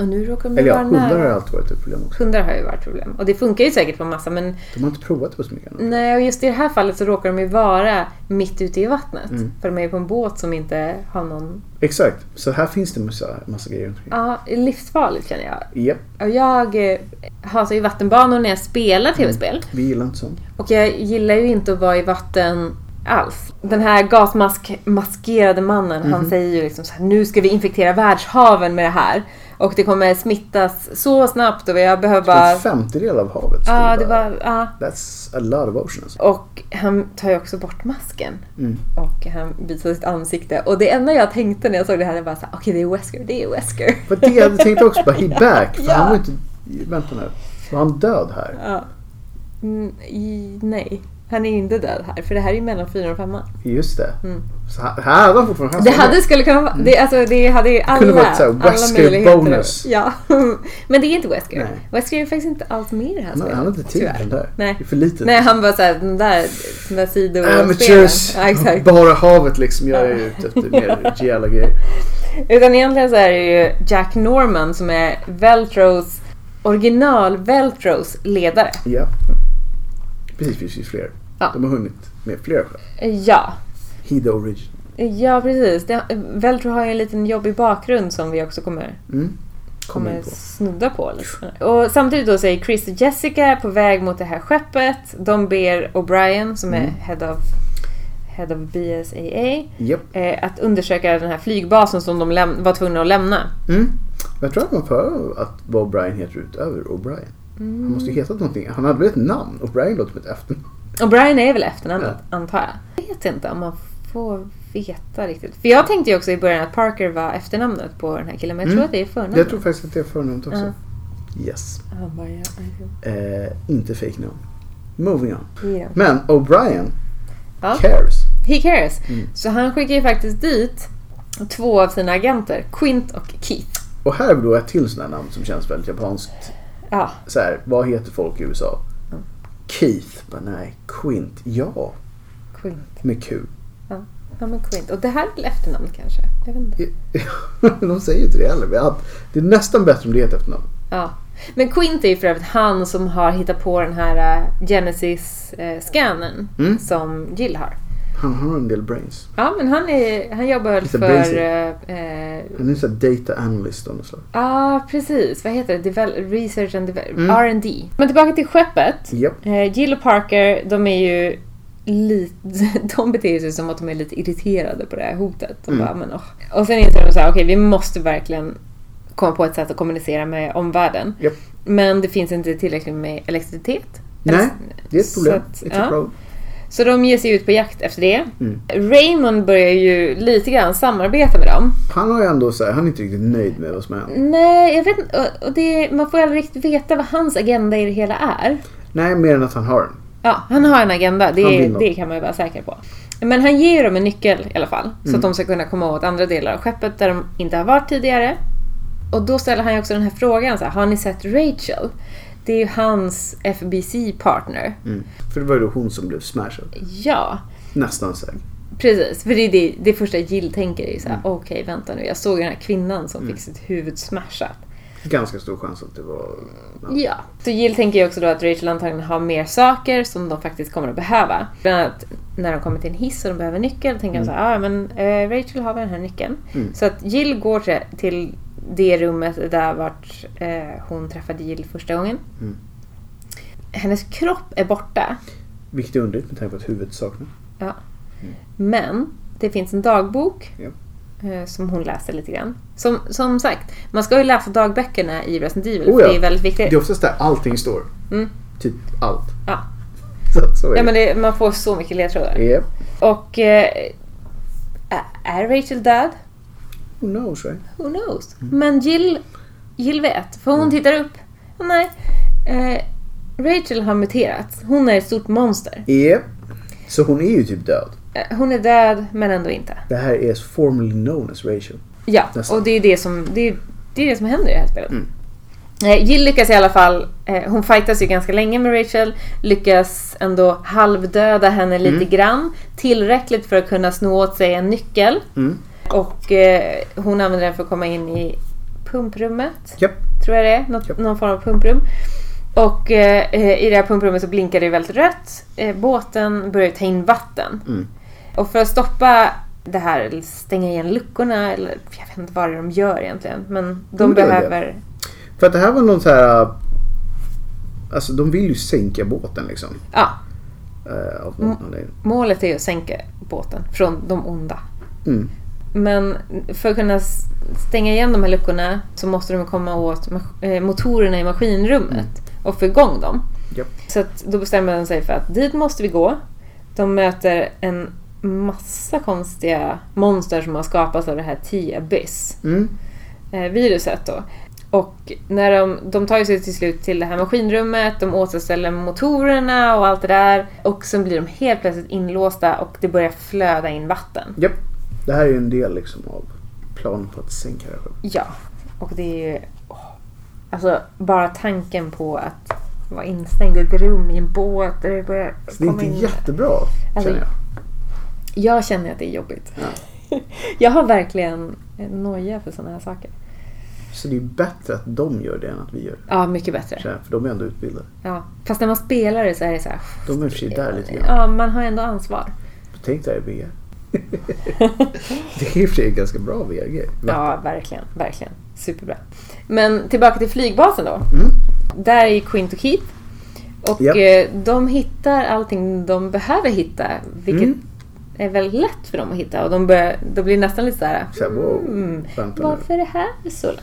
S2: Och nu råkar de ju
S1: Eller ja,
S2: vara
S1: hundar har
S2: Mm. nära.
S1: alltid varit ett problem också.
S2: Hundar har ju varit problem. Och det funkar ju säkert på massa men
S1: De har inte provat det på så mycket annat.
S2: Nej, och just i det här fallet så råkar de ju vara mitt ute i vattnet.
S1: Mm.
S2: För de är ju på en båt som inte har någon...
S1: Exakt, så här finns det massa, massa grejer runt omkring.
S2: Ja, det är livsfarligt känner jag.
S1: Japp,
S2: Och jag eh, hatar ju vattenbanor när jag spelar tv-spel.
S1: vi gillar inte sånt.
S2: Och jag gillar ju inte att vara i vatten alls. Den här gasmaskerade mannen, han säger ju liksom så här, nu ska vi infektera världshaven med det här. Och det kommer smittas så snabbt och jag behöver bara...
S1: En femtedel av havet skulle
S2: Ja, det
S1: vara-
S2: var... Ja.
S1: That's a lot of alltså. oceans.
S2: Och han tar ju också bort masken. Och han visar sitt ansikte. Och det enda jag tänkte när jag såg det här var såhär, okej det är Wesker, det är Wesker.
S1: För det jag tänkte också bara, he back. För
S2: Ja.
S1: han var inte... Vänta nu. Var han död här?
S2: Ja. Mm, i, nej. Han är ju inte död här, för det här är ju mellan fyran och femman.
S1: Just det.
S2: Mm.
S1: Så här, här hade han fortfarande
S2: Det
S1: chansen.
S2: hade skulle kunna vara, det, alltså, det hade ju alla,
S1: Mm. kunde varit så här
S2: alla
S1: Wesker
S2: möjligheter.
S1: bonus.
S2: Ja. Men det är inte Wesker.
S1: Nej.
S2: Wesker är faktiskt inte allt med i det här
S1: Han han hade inte tid
S2: tyvärr.
S1: med den där.
S2: Nej.
S1: Det är för litet.
S2: Nej, han bara såhär, den där, den där sidospelen.
S1: Amateurs.
S2: Ja, exakt.
S1: Bara havet liksom. Jag är ute efter mer rejäla grejer.
S2: Utan egentligen så är det ju Jack Norman som är Veltros, original Veltros ledare.
S1: Ja. Precis, det finns ju fler.
S2: Ja.
S1: De har hunnit med fler själv.
S2: Ja.
S1: He the origin.
S2: Ja, precis. Det, Veltro har ju en liten jobbig bakgrund som vi också kommer,
S1: Mm. Kommer
S2: kommer
S1: in på.
S2: snudda på. Liksom. Och samtidigt då så är Chris och Jessica på väg mot det här skeppet. De ber O'Brien, som är
S1: Mm.
S2: head of, head of BSAA,
S1: Japp.
S2: eh, att undersöka den här flygbasen som de läm- var tvungna att lämna.
S1: Mm. Jag tror att man får att vad O'Brien heter utöver O'Brien.
S2: Mm.
S1: Han måste ju hetat någonting. Han hade väl ett namn? O'Brien låter som ett efternamn.
S2: Och Brian är väl efternamnet, antar jag. Jag vet inte om man får veta riktigt. För jag tänkte ju också i början att Parker var efternamnet på den här killen, men jag
S1: Mm.
S2: tror att det är förnamnet.
S1: Jag tror faktiskt att det är förnamnet också.
S2: Ja.
S1: Yes.
S2: Han bara, ja, ja,
S1: Eh, inte fake namn. Moving on.
S2: ja.
S1: Men O'Brien
S2: Ja.
S1: cares.
S2: He cares.
S1: Mm.
S2: Så han skickar ju faktiskt dit två av sina agenter, Quint och Keith.
S1: Och här är då ett till sånt här namn som känns väldigt japanskt.
S2: Ja,
S1: Så här, vad heter folk i USA?
S2: Mm.
S1: Keith. Bara, nej, Quint. Ja,
S2: Quint.
S1: med Q.
S2: Ja, men Quint. Och det här är väl efternamn kanske? Jag vet inte.
S1: De säger ju inte det heller. men att Det är nästan bättre om det heter efternamn.
S2: Ja. Men Quint är ju för övrigt han som har hittat på den här eh, Genesis-scannern
S1: Mm.
S2: som Jill har.
S1: Han har en del brains.
S2: Ja, men han, är, han jobbar väl
S1: Lite
S2: för...
S1: basic.
S2: Ja, eh,
S1: Han är en sån här data analyst av något slag.
S2: ah, precis. Vad heter det? Devel- research and
S1: Mm.
S2: development. R&D. Men tillbaka till skeppet.
S1: Japp.
S2: Eh, Jill och Parker, de är ju lite... De beter sig som att de är lite irriterade på det här hotet. De
S1: Mm.
S2: bara, men, åh. Och sen inser de så här, okej, vi måste verkligen komma på ett sätt att kommunicera med omvärlden.
S1: Japp.
S2: Men det finns inte tillräckligt med elektricitet.
S1: Nej, det är ett
S2: Så
S1: problem.
S2: att,
S1: It's
S2: ja.
S1: a problem.
S2: Så de ger sig ut på jakt efter det.
S1: Mm.
S2: Raymond börjar ju lite grann samarbeta med dem.
S1: Han har ju ändå så här, han är inte riktigt nöjd med vad som har hänt.
S2: Nej, jag vet inte. och- Och det, man får aldrig riktigt veta vad hans agenda i det hela är.
S1: Nej, mer än att han har den.
S2: Ja, han har en agenda.
S1: Han
S2: Det,
S1: vill något.
S2: det kan man ju vara säker på. Men han ger ju dem en nyckel i alla fall. Så att de ska kunna komma åt andra delar av skeppet där de inte har varit tidigare. Och då ställer han ju också den här frågan. Så här, har ni sett Rachel? Det är ju hans FBC-partner.
S1: Mm. För det var ju då hon som blev smashad.
S2: Ja,
S1: Nästan säkert.
S2: Precis, för det är det, det första Jill tänker är ju såhär, okej vänta nu, jag såg den här kvinnan som fick sitt huvud smashat.
S1: Ganska stor chans att det var... Ja.
S2: Ja. Så Jill tänker ju också då att Rachel antagligen har mer saker som de faktiskt kommer att behöva. Bland annat när de kommer till en hiss och de behöver nyckel, tänker de så här, ah,
S1: Mm.
S2: men eh, Rachel har väl den här nyckeln. Så att Jill går till, till det rummet där vart eh, hon träffade Jill första gången.
S1: Mm.
S2: Hennes kropp är borta.
S1: Vilket är underligt med tanke på att huvudet saknas.
S2: Ja. Men det finns en dagbok
S1: Ja.
S2: eh, som hon läser lite grann. Som, som sagt, man ska ju läsa dagböckerna i Resident Evil.
S1: Oh
S2: för
S1: ja.
S2: Det är väldigt
S1: Det
S2: viktigt.
S1: är oftast där allting står.
S2: Eh. Mm.
S1: Typ allt.
S2: Ja.
S1: Så, så är det.
S2: Ja, men det, man får så mycket ledtrådar.
S1: Yep.
S2: Och eh, ä- är Rachel död?
S1: Who knows right?
S2: Who knows? Men Jill, Jill vet, för hon tittar upp. Nej, eh, Rachel har muterats. Hon är ett stort monster.
S1: Yep. Så hon är ju typ död.
S2: Eh, Hon är död, men ändå inte.
S1: Det här är formerly known as Rachel.
S2: Ja,
S1: Nästan. Mm.
S2: och det är det som, det är, det är det som händer i det här spelet. Eh, Jill lyckas i alla fall, eh, hon fightas ju ganska länge med Rachel, lyckas ändå halvdöda henne lite
S1: Mm.
S2: grann. Tillräckligt för att kunna sno åt sig en nyckel.
S1: Mm.
S2: Och eh, hon använder den för att komma in i pumprummet,
S1: Japp.
S2: tror jag det är. Något,
S1: Japp.
S2: Någon form av pumprum. Och eh, eh, i det här pumprummet så blinkar det väldigt rött. Eh, båten börjar ta in vatten.
S1: Mm.
S2: Och för att stoppa det här, eller stänga igen luckorna, eller jag vet inte vad det är de gör egentligen. Men de
S1: De gör det.
S2: behöver...
S1: För att det här var någon så här... äh, Alltså de vill ju sänka båten liksom.
S2: Ja,
S1: Äh, av
S2: Mm.
S1: någon anledning.
S2: målet är ju att sänka båten från de onda.
S1: Mm.
S2: Men för att kunna s- stänga igen de här luckorna så måste de komma åt mas- eh, motorerna i maskinrummet och få igång dem.
S1: Japp.
S2: Så att då bestämmer de sig för att dit måste vi gå. De möter en massa konstiga monster som har skapats av det här T-abyss.
S1: Mm.
S2: eh, viruset då. Och när de, de tar ju sig till slut till det här maskinrummet, de återställer motorerna och allt det där. Och sen blir de helt plötsligt inlåsta och det börjar flöda in vatten.
S1: Japp. Det här är ju en del liksom av planen på att sänka det här skeppet.
S2: Ja, och det är ju... åh. Alltså, bara tanken på att vara instängd i ett rum i en båt där det börjar
S1: Så Alltså, det är
S2: komma
S1: inte
S2: in...
S1: jättebra
S2: Alltså,
S1: känner jag.
S2: Jag känner att det är jobbigt.
S1: Ja.
S2: Jag har verkligen noja för sådana här saker.
S1: Så det är ju bättre att de gör det än att vi gör det.
S2: Ja, mycket bättre.
S1: känner jag, För de är ändå utbildade.
S2: Ja. Fast när man spelar det så är det så här...
S1: De är i och för sig där lite grann.
S2: Ja, man har ändå ansvar.
S1: Tänk dig VR. det är i och för sig en ganska bra VR-grej.
S2: Ja, verkligen. Verkligen. Superbra. Men tillbaka till flygbasen då.
S1: Mm.
S2: Där är ju Quint och Keith. Och
S1: Japp.
S2: eh, de hittar allting de behöver hitta. Vilket
S1: Mm.
S2: är väldigt lätt för dem att hitta. Och de, börjar, de blir nästan lite så här...
S1: Så här, wow,
S2: "Mm,
S1: vänta nu.
S2: varför är det här så lätt?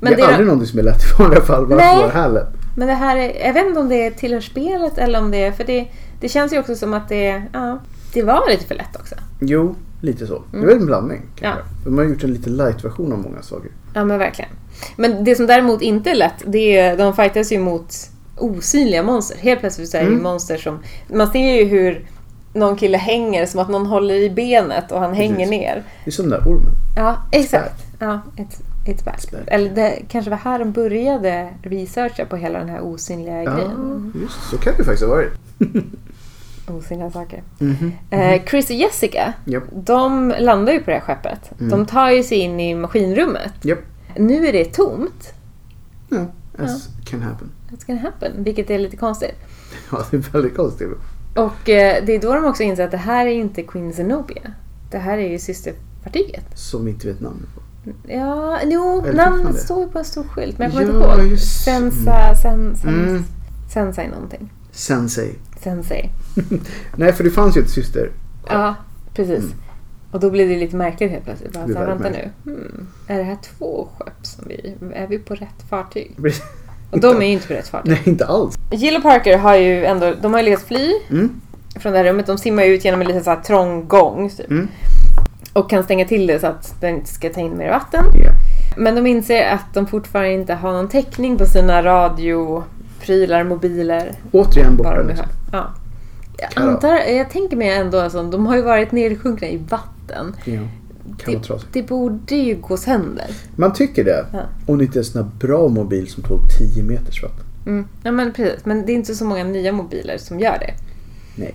S2: Men
S1: Men det är aldrig någonting som är lätt i vanliga fall. Varför
S2: Nej.
S1: var det här lätt?
S2: Men det här är, jag vet inte om det tillhör spelet eller om det är, för det, det känns ju också som att det, ja, det var lite för lätt också.
S1: Jo, lite så. Det är väl en blandning. kan
S2: Mm. Ja.
S1: jag säga. De har gjort en lite light-version av många saker.
S2: Ja men verkligen. Men det som däremot inte är lätt, det är, de fightas ju mot osynliga monster. Helt plötsligt så är det
S1: Mm.
S2: ju monster som, man ser ju hur någon kille hänger som att någon håller i benet och han hänger
S1: Precis.
S2: ner.
S1: Det är som den där ormen.
S2: Ja, exakt.
S1: Spärr.
S2: Ja, ett, ett back.
S1: Spärr.
S2: Eller det kanske var här de började researcha på hela den här osynliga
S1: Ja,
S2: grejen.
S1: just Så kan det faktiskt ha varit.
S2: Osynliga saker.
S1: Mhm.
S2: Eh, Chris och Jessica,
S1: Japp.
S2: de landar ju på det här skeppet. De tar ju sig in i maskinrummet.
S1: Mm. Japp.
S2: Nu är det tomt.
S1: Ja, as can happen.
S2: What's gonna happen? Vilket är lite konstigt.
S1: Ja, det är väldigt konstigt.
S2: Och eh, det är då de också inser att det här är inte Queen Zenobia. Det här är ju systerpartiet.
S1: Som vi inte vet namnet på.
S2: Ja, jo,
S1: Eller fortfarande.
S2: namnet står ju på en stor skylt. Men jag kommer
S1: Ja,
S2: inte ihåg.
S1: just-
S2: Sensa, sen, sen,
S1: Mm.
S2: Sensai någonting.
S1: Sensei.
S2: Sensei.
S1: Nej, för det fanns ju ett syster.
S2: Ja, precis. Och då blir det lite märkligt helt plötsligt. Bara,
S1: Mm. Det
S2: så
S1: är
S2: här, vänta
S1: väldigt
S2: nu. Hmm, är det här två skepp som vi... Är vi på rätt fartyg?
S1: Precis.
S2: Och de är ju inte på rätt fartyg.
S1: Nej, inte alls.
S2: Jill och Parker har ju ändå, de har ju lyckats fly
S1: Mm.
S2: från det här rummet. De simmar ju ut genom en liten så här trång gång typ.
S1: Mm.
S2: Och kan stänga till det så att den inte ska ta in mer vatten.
S1: Ja.
S2: Men de inser att de fortfarande inte har någon täckning på sina radioprylar, mobiler.
S1: Återigen
S2: Vad
S1: borta.
S2: de nu
S1: Liksom.
S2: har. Ja. Jag,
S1: Karo.
S2: antar, jag tänker mig ändå att alltså, de har ju varit nedsjunkna i vatten.
S1: Ja. Kan vara
S2: Det,
S1: trasigt.
S2: det borde ju gå sönder.
S1: Man tycker det.
S2: Ja.
S1: Om det inte är en sån här bra mobil som tål 10 meters vatten.
S2: Mm. Ja men precis, men det är inte så många nya mobiler som gör det.
S1: Nej.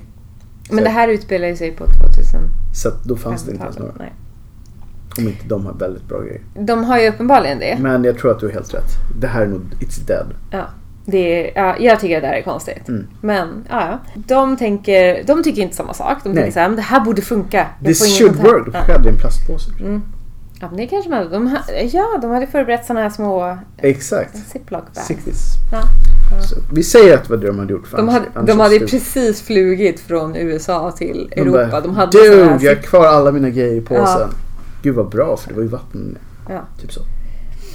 S2: Men
S1: Så-
S2: det här utspelar ju sig på 2000
S1: Så att då fanns det inte ens några.
S2: Nej.
S1: Om inte de har väldigt bra grejer.
S2: De har ju uppenbarligen det.
S1: Men jag tror att du har helt rätt. Det här är nog It's Dead.
S2: Ja, det är, ja, jag tycker det där är konstigt.
S1: Mm.
S2: Men ja, ja. de, tänker, de tycker inte samma sak. De
S1: Nej.
S2: tänker så här, men det här borde funka. Jag får ingen
S1: This should
S2: kontakt."
S1: work. De
S2: Ja.
S1: skällde i en plastpåse.
S2: Ja, men det kanske man de, ha- Ja, de hade förberett såna här små
S1: Exakt.
S2: ziploc bags.
S1: 60s.
S2: Ja.
S1: Så, vi säger att det var det de hade gjort. för
S2: De
S1: annars-
S2: hade,
S1: annars
S2: de hade ju
S1: skulle-
S2: precis flugit från USA till
S1: de
S2: Europa.
S1: bara,
S2: De hade
S1: Dude,
S2: såna här
S1: jag
S2: zip-
S1: har kvar alla mina grejer i påsen.
S2: Ja.
S1: Gud vad bra för det var ju vatten.
S2: Ja.
S1: Typ så.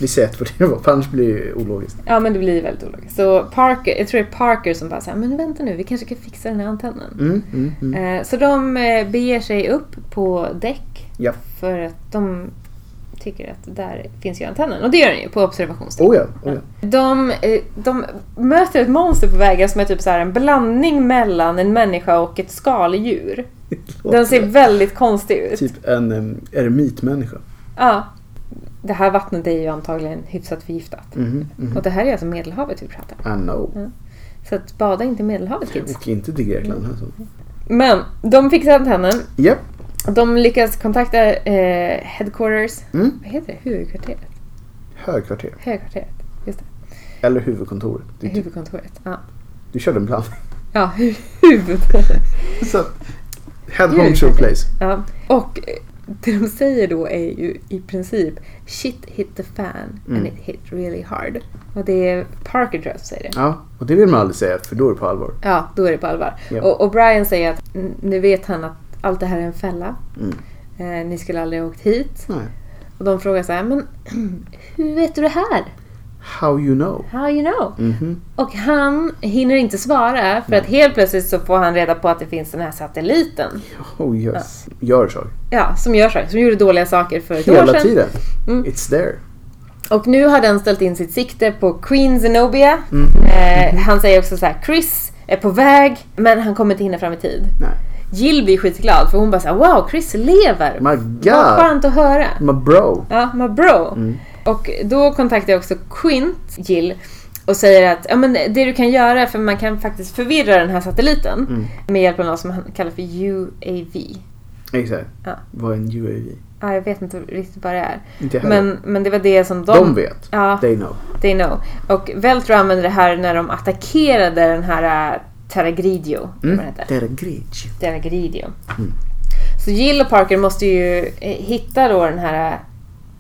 S1: Vi säger att det var det det var för annars blir det ju ologiskt.
S2: Ja, men det blir väldigt ologiskt. Så Parker, jag tror det är Parker som bara säger men vänta nu, vi kanske kan fixa den här antennen.
S1: Mm, mm, mm.
S2: Eh, Så de eh, beger sig upp på däck
S1: Ja.
S2: för att de tycker att där finns ju antennen. Och det gör den ju på observationsdäck.
S1: Oh ja, oh ja.
S2: De, eh, de möter ett monster på vägen som är typ så här en blandning mellan en människa och ett skaldjur. Den ser väldigt konstig ut.
S1: Typ en um, eremitmänniska.
S2: Ja. Det här vattnet är ju antagligen hyfsat förgiftat.
S1: Mhm, mhm.
S2: Och det här är alltså Medelhavet vi pratar om.
S1: I know.
S2: Så att bada inte i Medelhavet kids. Mm.
S1: Och inte till Grekland. Alltså.
S2: Men de fixar antennen.
S1: Japp.
S2: De lyckas kontakta eh, headquarters.
S1: Mm.
S2: Vad heter det? Huvudkvarteret?
S1: Högkvarter.
S2: Högkvarteret. Just det.
S1: Eller huvudkontoret. Du,
S2: Huvudkontoret. Ja,
S1: du körde en blandning.
S2: ja hu- huvud.
S1: så att, head home show place.
S2: Ja. Och eh, det de säger då är ju i princip shit hit the fan
S1: Mm.
S2: and it hit really hard. Och det är Parker tror jag som säger det.
S1: Ja, och det vill man aldrig säga för då är det på allvar.
S2: Ja, då är det på allvar.
S1: Ja.
S2: Och, och Brian säger att "N- nu vet han att allt det här är en fälla.
S1: Mm.
S2: Eh, ni skulle aldrig ha åkt hit.
S1: Nej.
S2: Och de frågar så här, men hur vet du det här?
S1: How you know?
S2: How you know?
S1: Mhm.
S2: Och han hinner inte svara för att helt plötsligt så får han reda på att det finns den här satelliten.
S1: Oh yes. Gör saker.
S2: Ja, som gör saker. Som gjorde dåliga saker för ett år
S1: Hela
S2: sedan.
S1: tiden.
S2: Mm.
S1: It's there.
S2: Och nu har den ställt in sitt sikte på Queen Zenobia.
S1: Mm.
S2: Eh, han säger också så här: Chris är på väg, men han kommer inte hinna fram i tid.
S1: Nej.
S2: Jill blir skitglad för hon bara såhär wow, Chris lever!
S1: My
S2: Vad
S1: God! Mm.
S2: skönt att höra!
S1: My bro!
S2: Ja, my bro! Och då kontaktar jag också Quint, Jill, och säger att ja, men det du kan göra, för man kan faktiskt förvirra den här satelliten
S1: Mm.
S2: med hjälp av något som han kallar för UAV.
S1: Exakt.
S2: Ja.
S1: Vad är en UAV?
S2: Ja, jag vet inte riktigt vad det är.
S1: Inte jag heller.
S2: Men, men det var det som de...
S1: De vet.
S2: Ja,
S1: They know.
S2: they know. Och Veltro använde det här när de attackerade den här äh, Terragridio. Mm. Vad den heter.
S1: They're a great you.
S2: Delgridio.
S1: Mm.
S2: Så Jill och Parker måste ju eh, hitta då den här, äh,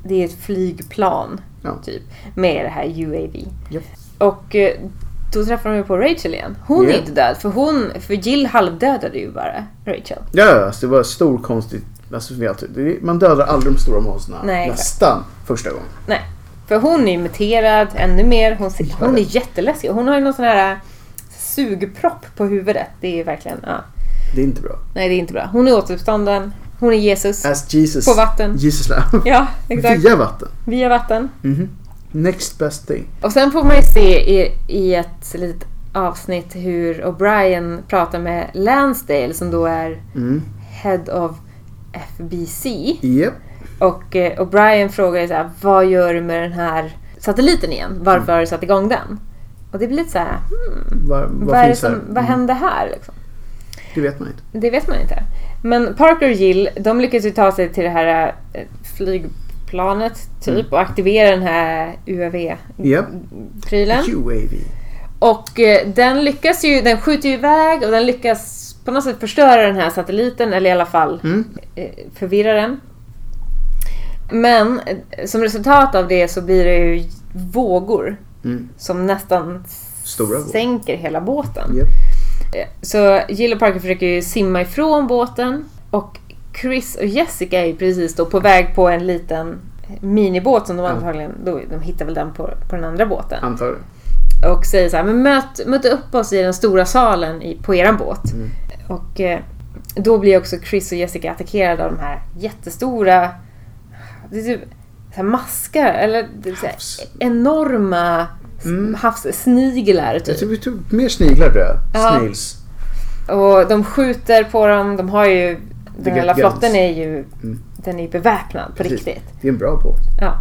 S2: det är ett flygplan
S1: Ja.
S2: typ, med det här UAV.
S1: Japp.
S2: Och eh, då träffar de ju på Rachel igen. Hon
S1: Ja.
S2: är inte död, för, hon, för Jill halvdödade ju bara Rachel.
S1: Ja, ja, alltså det var stor konstigt. Alltså, vi alltid- det är- man dödar aldrig de stora monstren.
S2: Nej, exakt.
S1: Nästan första gången.
S2: Nej, för hon är ju muterad ännu mer. Hon, ser, hon är jätteläskig. Hon har ju någon sån här äh, sugpropp på huvudet. Det är ju verkligen, ja.
S1: Det är inte bra.
S2: Nej det är inte bra. Hon är återuppstånden. Hon är Jesus.
S1: As Jesus.
S2: På vatten.
S1: Jesus lär.
S2: Ja, exakt.
S1: Via vatten.
S2: Via vatten.
S1: Next best thing.
S2: Och sen får man ju se i, i ett litet avsnitt hur O'Brien pratar med Lansdale som då är
S1: Mm.
S2: Head of FBC.
S1: Yep.
S2: Och eh, O'Brien frågar ju så här, vad gör du med den här satelliten igen? Varför
S1: Mm.
S2: har du satt igång den? Och det blir lite så här, hmm,
S1: Vad, vad,
S2: vad, är det
S1: finns
S2: som,
S1: här? Mm.
S2: vad hände här? Liksom?
S1: Det vet man inte.
S2: Det vet man inte. Men Parker och Jill, de lyckas ju ta sig till det här eh, flygplanet typ
S1: Mm.
S2: och aktivera den här
S1: Yep. E.
S2: UAV-prylen.
S1: UAV.
S2: Och eh, den lyckas ju, den skjuter ju iväg och den lyckas på något sätt förstöra den här satelliten eller i alla fall
S1: Mm.
S2: eh, förvirra den. Men eh, som resultat av det så blir det ju vågor
S1: Mm.
S2: som nästan
S1: Stora vågor.
S2: sänker hela båten.
S1: Yep.
S2: Eh, Så Jill och Parker försöker ju simma ifrån båten och Chris och Jessica är ju precis då på väg på en liten minibåt som de
S1: Ja.
S2: antagligen, då, de hittar väl den på, på den andra båten.
S1: Antagligen.
S2: Och säger så här, men möt, möt upp oss i den stora salen i, på eran båt. Och eh, då blir också Chris och Jessica attackerade av de här jättestora, det är typ så här maskar, eller det är så här,
S1: Havs.
S2: enorma s- havssniglar
S1: Jag
S2: typ.
S1: tror vi tog mer sniglar tror jag.
S2: Ja.
S1: Snails.
S2: Och de skjuter på dem, de har ju, den
S1: Vilket
S2: hela
S1: gräns.
S2: flotten är ju, den är ju beväpnad på
S1: Precis.
S2: riktigt.
S1: Det är en bra båt.
S2: Ja,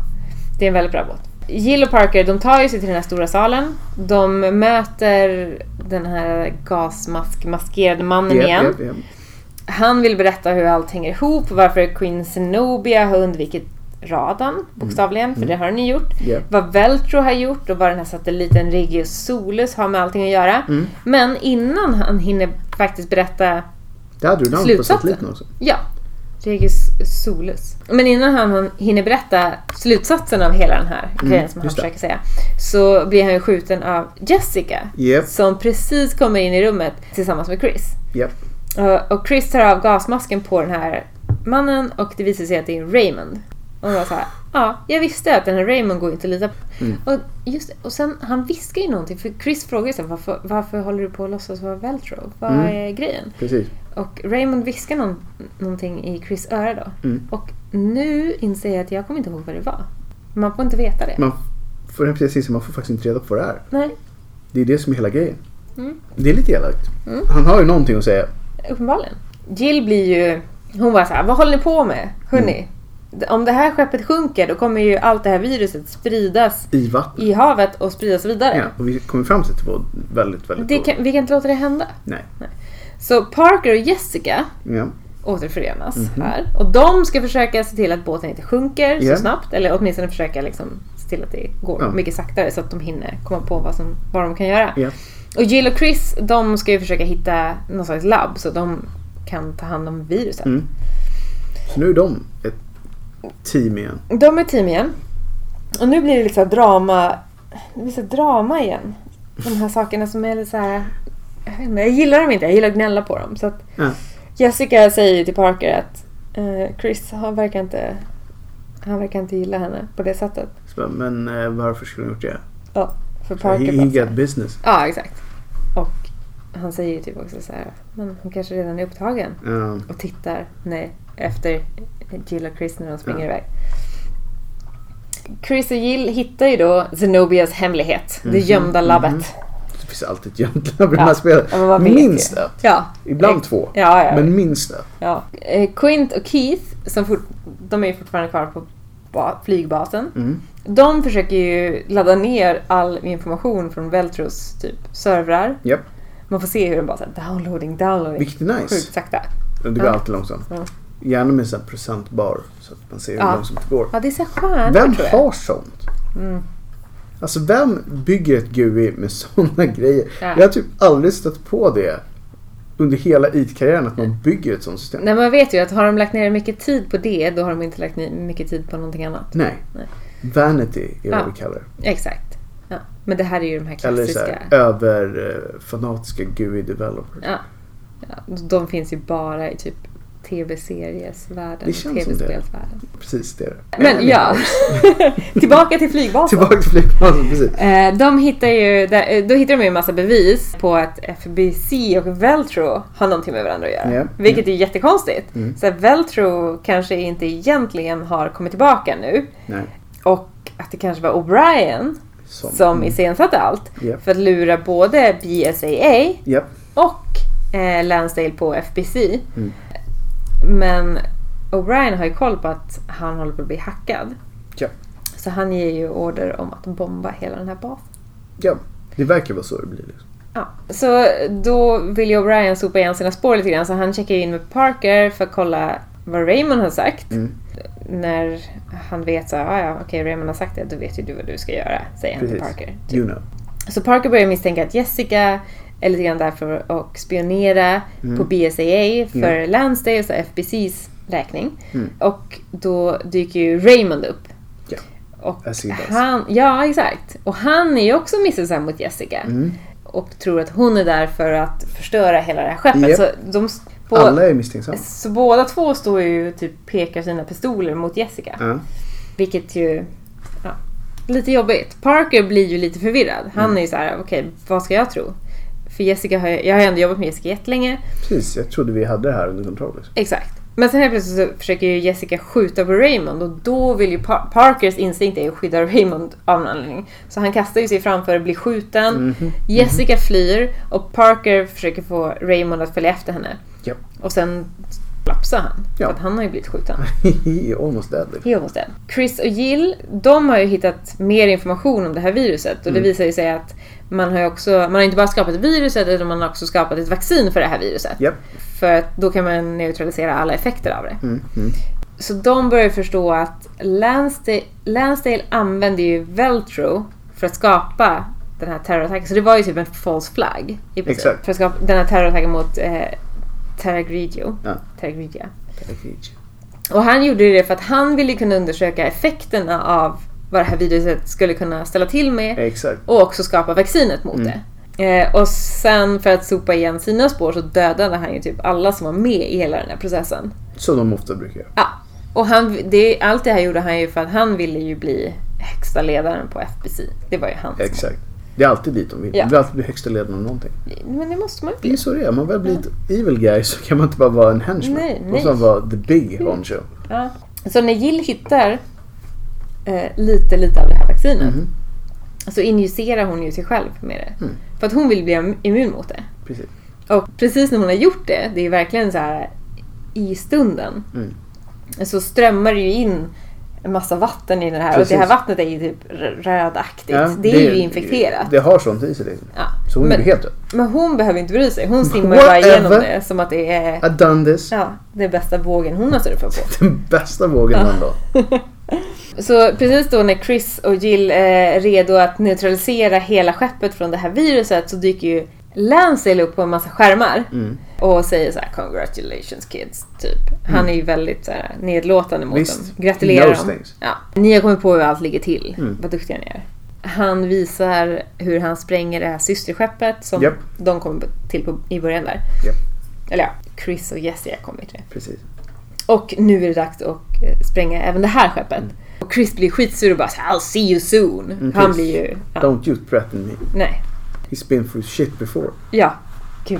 S2: det är en väldigt bra båt. Jill och Parker de tar ju sig till den här stora salen. De möter den här gasmask-maskerade mannen
S1: Japp,
S2: igen.
S1: japp, japp.
S2: Han vill berätta hur allt hänger ihop, varför Queen Zenobia har undvikit radarn, bokstavligen, för det har den ju gjort.
S1: Japp.
S2: Vad Veltro har gjort och vad den här satelliten Regius Solus har med allting att göra. Men innan han hinner faktiskt berätta
S1: Det hade du namn på
S2: Slutsatsen.
S1: satelliten också.
S2: Ja. Regis Solus. Men innan han hinner berätta slutsatsen av hela den här grejen som han
S1: Mm, just det.
S2: försöker säga. Så blir han ju skjuten av Jessica.
S1: Japp.
S2: Som precis kommer in i rummet tillsammans med Chris.
S1: Japp.
S2: Och- Och Chris tar av gasmasken på den här mannen och det visar sig att det är Raymond. Och hon var så här, ja, jag visste att den här Raymond går inte att lita på.
S1: Mm.
S2: Och, just, det, och sen, han viskar ju någonting för Chris frågar ju så här, varför, varför håller du på att låtsas vara Veltro? Vad
S1: Mm.
S2: är grejen?
S1: Precis.
S2: Och Raymond viskar någon, någonting i Chris öra då.
S1: Mm.
S2: Och nu inser jag att jag kommer inte ihåg vad det var. Man får inte veta det.
S1: Man får, precis, man får faktiskt inte reda på vad det är.
S2: Nej,
S1: Det är det som är hela grejen.
S2: Mm.
S1: Det är lite elakt. Han har ju någonting att säga.
S2: uppenbarligen. Jill blir ju... Hon var så här, vad håller ni på med? Hörni,
S1: Mm.
S2: om det här skeppet sjunker då kommer ju allt det här viruset spridas
S1: I vattnet.
S2: i havet och spridas vidare.
S1: Ja, och vi kommer fram till att det var väldigt, väldigt
S2: Det
S1: dåligt.
S2: kan, vi kan inte låta det hända.
S1: Nej.
S2: Så Parker och Jessica
S1: Ja.
S2: återförenas här. Och de ska försöka se till att båten inte sjunker
S1: Mhm. Ja.
S2: så snabbt. Eller åtminstone försöka liksom se till att det går
S1: Ja.
S2: mycket saktare så att de hinner komma på vad, som, vad de kan göra.
S1: Ja.
S2: Och Jill och Chris de ska ju försöka hitta någon slags labb så de kan ta hand om viruset.
S1: Mm. Så nu är de ett team igen.
S2: De är team igen. Och nu blir det lite så här drama. Det blir så här drama igen. De här sakerna som är lite så här. Jag, vet inte, jag gillar dem inte. Jag gillar att gnälla på dem. Så att
S1: Ja.
S2: Jessica säger ju till Parker att eh, Chris han verkar inte han verkar inte gilla henne på det sättet.
S1: Så, bara, men eh, varför skulle de gjort det?
S2: Ja, för
S1: He,
S2: Parker
S1: he
S2: bara, så här-
S1: got business.
S2: Ja, exakt. Och han säger ju typ också så här, men hon kanske redan är upptagen
S1: Ja.
S2: och tittar nej, efter Jill och Chris när de springer
S1: Ja.
S2: iväg. Chris och Jill hittar ju då Zenobias hemlighet.
S1: Mhm.
S2: Det gömda labbet.
S1: Det finns alltid ett gömt labb i de här spelen.
S2: ja, men man vet
S1: Minst
S2: ju.
S1: ett.
S2: Ja.
S1: Ibland två.
S2: Ja, ja,
S1: Men minst ett.
S2: ja. Eh, Quint och Keith, som fort, de är ju fortfarande kvar på ba- flygbasen.
S1: Mm.
S2: De försöker ju ladda ner all information från Veltros typ servrar.
S1: Japp.
S2: Man får se hur de bara såhär downloading, downloading.
S1: Vilket är nice.
S2: Sjukt sakta.
S1: Det går
S2: Ja.
S1: alltid långsamt.
S2: Ja.
S1: Gärna med en sån här procentbar så att man ser hur
S2: Ja.
S1: långsamt det går.
S2: Ja, det är så skönt.
S1: Vem
S2: tror jag.
S1: har sånt?
S2: Mm.
S1: Alltså vem bygger ett GUI med sådana grejer?
S2: Ja.
S1: Jag har typ aldrig stött på det under hela IT-karriären att man bygger ett sånt system.
S2: Nej, man vet ju att har de lagt ner mycket tid på det, då har de inte lagt ner mycket tid på någonting annat.
S1: Nej.
S2: Nej.
S1: Vanity är vad
S2: Ja.
S1: vi kallar det.
S2: Exakt. Ja. Men det här är ju de här
S1: Eller
S2: klassiska.
S1: så här, eh, överfanatiska GUI-developers.
S2: Ja. ja. De finns ju bara i typ tv-seriesvärlden.
S1: Det känns som det.
S2: TV-spelsvärlden.
S1: Precis det är det.
S2: Men ja. Tillbaka till flygbasen.
S1: Tillbaka till flygplanet, precis.
S2: Eh, De hittar ju, där- eh, då hittar de ju en massa bevis på att FBC och Veltro har någonting med varandra att göra.
S1: Ja.
S2: Vilket är jättekonstigt.
S1: Mm.
S2: Så att Veltro kanske inte egentligen har kommit tillbaka nu.
S1: Nej.
S2: Och att det kanske var O'Brien
S1: Som.
S2: som iscensatte allt.
S1: Mm. Ja.
S2: För att lura både BSAA
S1: Japp.
S2: och eh, Lansdale på FBC.
S1: Mm.
S2: Men O'Brien har ju koll på att han håller på att bli hackad.
S1: Ja.
S2: Så han ger ju order om att bomba hela den här basen.
S1: Ja. Det verkar vara så det blir. Liksom.
S2: Ja. Så då vill ju O'Brien sopa igen sina spår lite grann så han checkar in med Parker för att kolla vad Raymond har sagt.
S1: Mm.
S2: När han vet så här, ah, ja, okej Raymond har sagt det, då vet ju du vad du ska göra, säger han till Parker.
S1: You know.
S2: Så Parker börjar misstänka att Jessica är lite grann där för att spionera
S1: Mm.
S2: på BSAA för Lansdales och FBCs räkning. Och då dyker ju Raymond upp.
S1: Mm. Ja.
S2: Och
S1: As he does.
S2: han, ja, exakt. Och han är ju också misstänksam mot Jessica.
S1: Mm.
S2: Och tror att hon är där för att förstöra hela det här skeppet.
S1: Japp.
S2: Så, de, s- på,
S1: Alla är misstänksamma.
S2: så båda två står ju och typ pekar sina pistoler mot Jessica.
S1: Ja.
S2: Vilket ju... Ja, lite jobbigt. Parker blir ju lite förvirrad. Han är ju så här, okej, vad ska jag tro? För Jessica har ju, jag har ju ändå jobbat med Jessica jättelänge.
S1: Precis, jag trodde vi hade det här under kontroll. Liksom.
S2: Exakt. Men sen helt plötsligt så försöker ju Jessica skjuta på Raymond och då vill ju Par- Parkers instinkt är ju att skydda Raymond av någon anledning. Så han kastar ju sig framför och blir skjuten. Jessica flyr och Parker försöker få Raymond att följa efter henne.
S1: Japp.
S2: Och sen lapsar han.
S1: Ja.
S2: För att han har ju blivit skjuten.
S1: Hehe, Almost dead. Liksom.
S2: He almost dead. Chris och Jill, de har ju hittat mer information om det här viruset och
S1: Mm.
S2: det visar ju sig att man har ju också, man har inte bara skapat viruset utan man har också skapat ett vaccin för det här viruset.
S1: Japp.
S2: För att då kan man neutralisera alla effekter av det.
S1: Mm, mm.
S2: Så de börjar ju förstå att Lansdale, Lansdale använde ju Veltro för att skapa den här terrorattacken. Så det var ju typ en false flag i princip.
S1: Exakt.
S2: För att skapa den här terrorattacken mot eh, Terragridio.
S1: Ja.
S2: Terragridia.
S1: Package.
S2: Och han gjorde ju det för att han ville kunna undersöka effekterna av vad det här viruset skulle kunna ställa till med
S1: Exakt.
S2: och också skapa vaccinet mot det. Eh, och sen för att sopa igen sina spår så dödade han ju typ alla som var med i hela den här processen.
S1: Som de ofta brukar göra.
S2: Ja. Och han, det, allt det här gjorde han ju för att han ville ju bli högsta ledaren på FBC. Det var ju hans mål.
S1: Exakt. Det är alltid dit de vill.
S2: Ja.
S1: De vill alltid bli högsta ledaren av någonting.
S2: Men det måste man ju
S1: Det är
S2: bli.
S1: ju så det är. Om man väl blir ett evil guy så kan man inte bara vara en henchman.
S2: Nej,
S1: man
S2: nej.
S1: måste man vara the big honcho.
S2: Ja. Så när Jill hittar eh, lite, lite av det här vaccinet
S1: Mm. Mm-hmm.
S2: så injicerar hon ju sig själv med det. För att hon vill bli immun mot det.
S1: Precis.
S2: Och precis när hon har gjort det, det är verkligen så här i stunden,
S1: Mm.
S2: så strömmar det ju in en massa vatten i den här.
S1: Precis.
S2: Och det här vattnet är ju typ r- rödaktigt.
S1: Ja,
S2: det, är ju infekterat.
S1: Det har sånt i sig. Liksom.
S2: ja.
S1: Så hon är
S2: men,
S1: helt rätt.
S2: men hon behöver inte bry sig. Hon simmar ju bara igenom
S1: Whatever.
S2: det som att det är
S1: I done this.
S2: ja, det bästa vågen hon har surfat på.
S1: Den bästa vågen någon dag.
S2: Så precis då när Chris och Jill eh, är redo att neutralisera hela skeppet från det här viruset så dyker ju Lancel upp på en massa skärmar
S1: Mm.
S2: och säger så här “Congratulations kids” typ. Han är ju väldigt så här, nedlåtande mot
S1: Mm. Visst.
S2: dem. Gratulerar
S1: Knows
S2: dem.
S1: things. Mm.
S2: Ja. Ni har kommit på hur allt ligger till. Vad duktiga ni är. Han visar hur han spränger det här systerskeppet som
S1: Japp.
S2: de kom till på, i början där.
S1: Japp.
S2: Eller ja, Chris och Jessica kom ju till det.
S1: Precis.
S2: Och nu är det dags att eh, spränga även det här skeppet. Och Chris blir skitsur och bara så här, I'll see you soon. Han
S1: Mm, precis.
S2: blir ju... Ja,
S1: Don't you threaten me.
S2: nej.
S1: He's been through shit before.
S2: Ja, gud.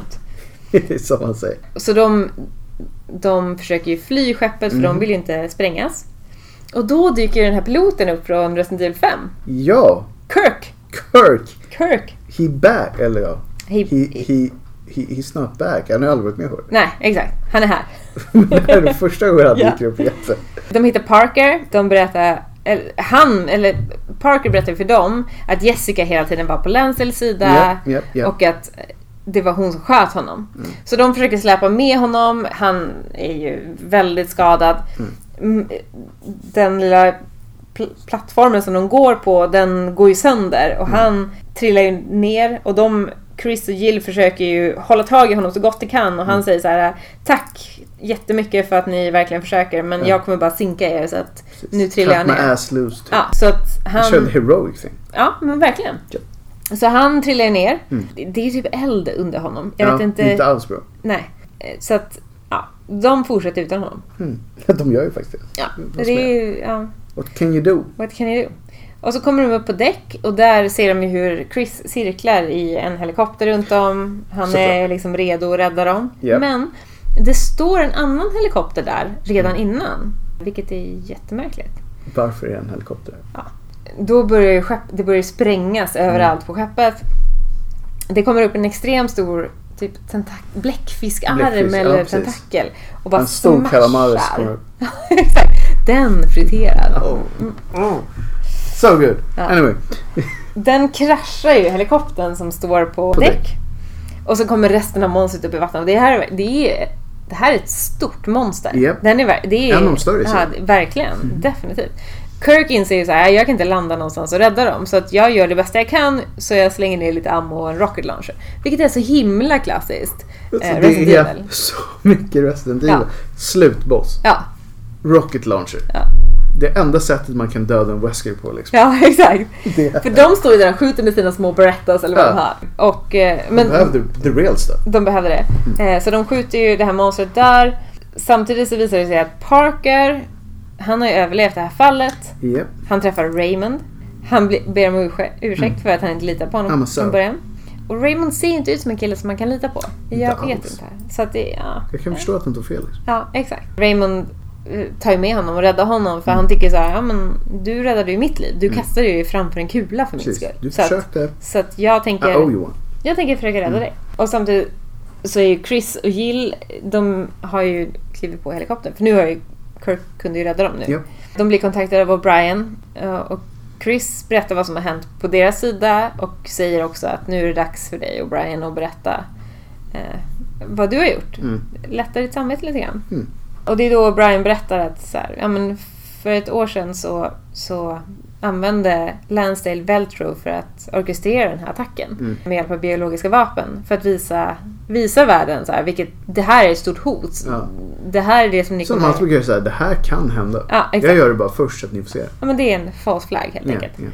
S1: Det är som han säger. Mm.
S2: Så de, de försöker ju fly skeppet för de vill ju inte sprängas. Och då dyker den här piloten upp från Resident Evil 5.
S1: Ja,
S2: Kirk!
S1: Kirk!
S2: Kirk!
S1: He back, eller ja.
S2: He,
S1: He, he, he, he's not back. Han har aldrig varit med förr.
S2: Nej, exakt. Han är här.
S1: Men det här är första gången han dyker upp igen.
S2: De hittar Parker, de berättar... Eller, han, eller Parker berättar för dem att Jessica hela tiden var på Lancels sida.
S1: Ja, ja, ja.
S2: Och att det var hon som sköt honom. Så de försöker släpa med honom. Han är ju väldigt skadad. Mm, Den lilla pl- plattformen som de går på, den går ju sönder. Och han trillar ju ner. Och de, Chris och Jill försöker ju hålla tag i honom så gott de kan. Och han säger så här: Tack jättemycket för att ni verkligen försöker. Men jag kommer bara sinka er så att nu trillar jag
S1: Cut my
S2: ner.
S1: ass loose. Typ.
S2: Ja, så att han...
S1: Kör en heroic thing.
S2: Ja, men verkligen.
S1: Ja. Mm.
S2: Så han trillar ju ner. Det- Det är ju typ eld under honom. Jag
S1: ja,
S2: vet inte...
S1: inte alls bra.
S2: Nej. Eh, Så att, ja. De fortsätter utan honom.
S1: Mm. De gör ju faktiskt det.
S2: Ja.
S1: Mm, Vad
S2: Det
S1: ska
S2: är ju, ja.
S1: What can you do?
S2: What can you do? Och så kommer de upp på däck och där ser de ju hur Chris cirklar i en helikopter runt dem. Han
S1: Såklart.
S2: är liksom redo att rädda dem.
S1: Ja.
S2: Men det står en annan helikopter där redan
S1: Mm.
S2: innan. Vilket är jättemärkligt.
S1: Varför är det en helikopter här?
S2: då börjar ju skepp, det börjar sprängas
S1: Mm.
S2: överallt på skeppet. Det kommer upp en extremt stor typ tentak- bläckfiskarm
S1: Bläckfisk, ja,
S2: eller
S1: precis.
S2: tentakel och bara
S1: En stor
S2: smashar.
S1: kalamaris kommer upp.
S2: Exakt. Den friterad.
S1: Oh. Oh. So good.
S2: Mm. Ja. Eh,
S1: Anyway.
S2: Den kraschar ju helikoptern som står på,
S1: På
S2: däck.
S1: däck.
S2: Och så kommer resten av monstret upp i vattnet. Och Det här, det är, det här är ett stort monster.
S1: Japp.
S2: Den är, ver- det är,
S1: En av de större Mm. i
S2: ja,
S1: serien.
S2: Verkligen, definitivt. Kirk inser ju så här, jag kan inte landa någonstans och rädda dem. Så att jag gör det bästa jag kan, så jag slänger ner lite ammo och en rocket launcher. Vilket är så himla klassiskt.
S1: Alltså,
S2: eh, Resident
S1: det är
S2: Evil.
S1: så mycket Resident Evil. Slutboss.
S2: Ja,
S1: Rocket launcher.
S2: Ja.
S1: Det enda sättet man kan döda en Wesker på liksom.
S2: ja exakt.
S1: Det
S2: För de står ju där och skjuter med sina små berättas eller vad
S1: Ja.
S2: de har. Och, eh, men,
S1: Behövde the real stuff.
S2: De behövde det. Eh, så de skjuter ju det här monstret där. Samtidigt så visar det sig att Parker, han har ju överlevt det här fallet.
S1: Yep.
S2: Han träffar Raymond. Han bli- ber om ursä-
S1: Mm.
S2: ursäkt för att han inte litar på
S1: Ja,
S2: honom
S1: men så.
S2: från början. Och Raymond ser inte ut som en kille som man kan lita på. Jag
S1: Inte
S2: vet
S1: alls.
S2: inte. Så att det, ja.
S1: Jag kan förstå att de tog fel. liksom.
S2: ja, exakt. Raymond eh, tar ju med honom och räddar honom för han tycker så här, ja men du räddade ju mitt liv. Du kastade ju framför en kula för min
S1: Mm. Precis.
S2: skull.
S1: Du Ah, oh,
S2: så att,
S1: försökte.
S2: så att jag tänker...
S1: I owe you one.
S2: Jag tänker försöka rädda dig. Och samtidigt så är ju Chris och Jill, de har ju klivit på helikoptern. För nu har ju Kirk kunde ju rädda dem nu.
S1: Ja.
S2: De blir kontaktade av Brian eh, och Chris berättar vad som har hänt på deras sida och säger också att nu är det dags för dig och Brian att berätta eh, vad du har gjort.
S1: Mm.
S2: Lättar ditt samvete lite grann.
S1: Mm.
S2: Och det är då Brian berättar att så här, ja, men för ett år sedan så, så använde Lansdale Veltro för att orkestrera den här attacken
S1: Mm.
S2: med hjälp av biologiska vapen för att visa, visa världen så här, vilket det här är ett stort hot.
S1: Ja.
S2: Det här är det som ni
S1: Som han brukar säga, det här kan hända.
S2: Ja, exakt.
S1: jag gör det bara först så att ni får se.
S2: Ja, men det är en false flag helt
S1: Ja,
S2: enkelt.
S1: ja, ja.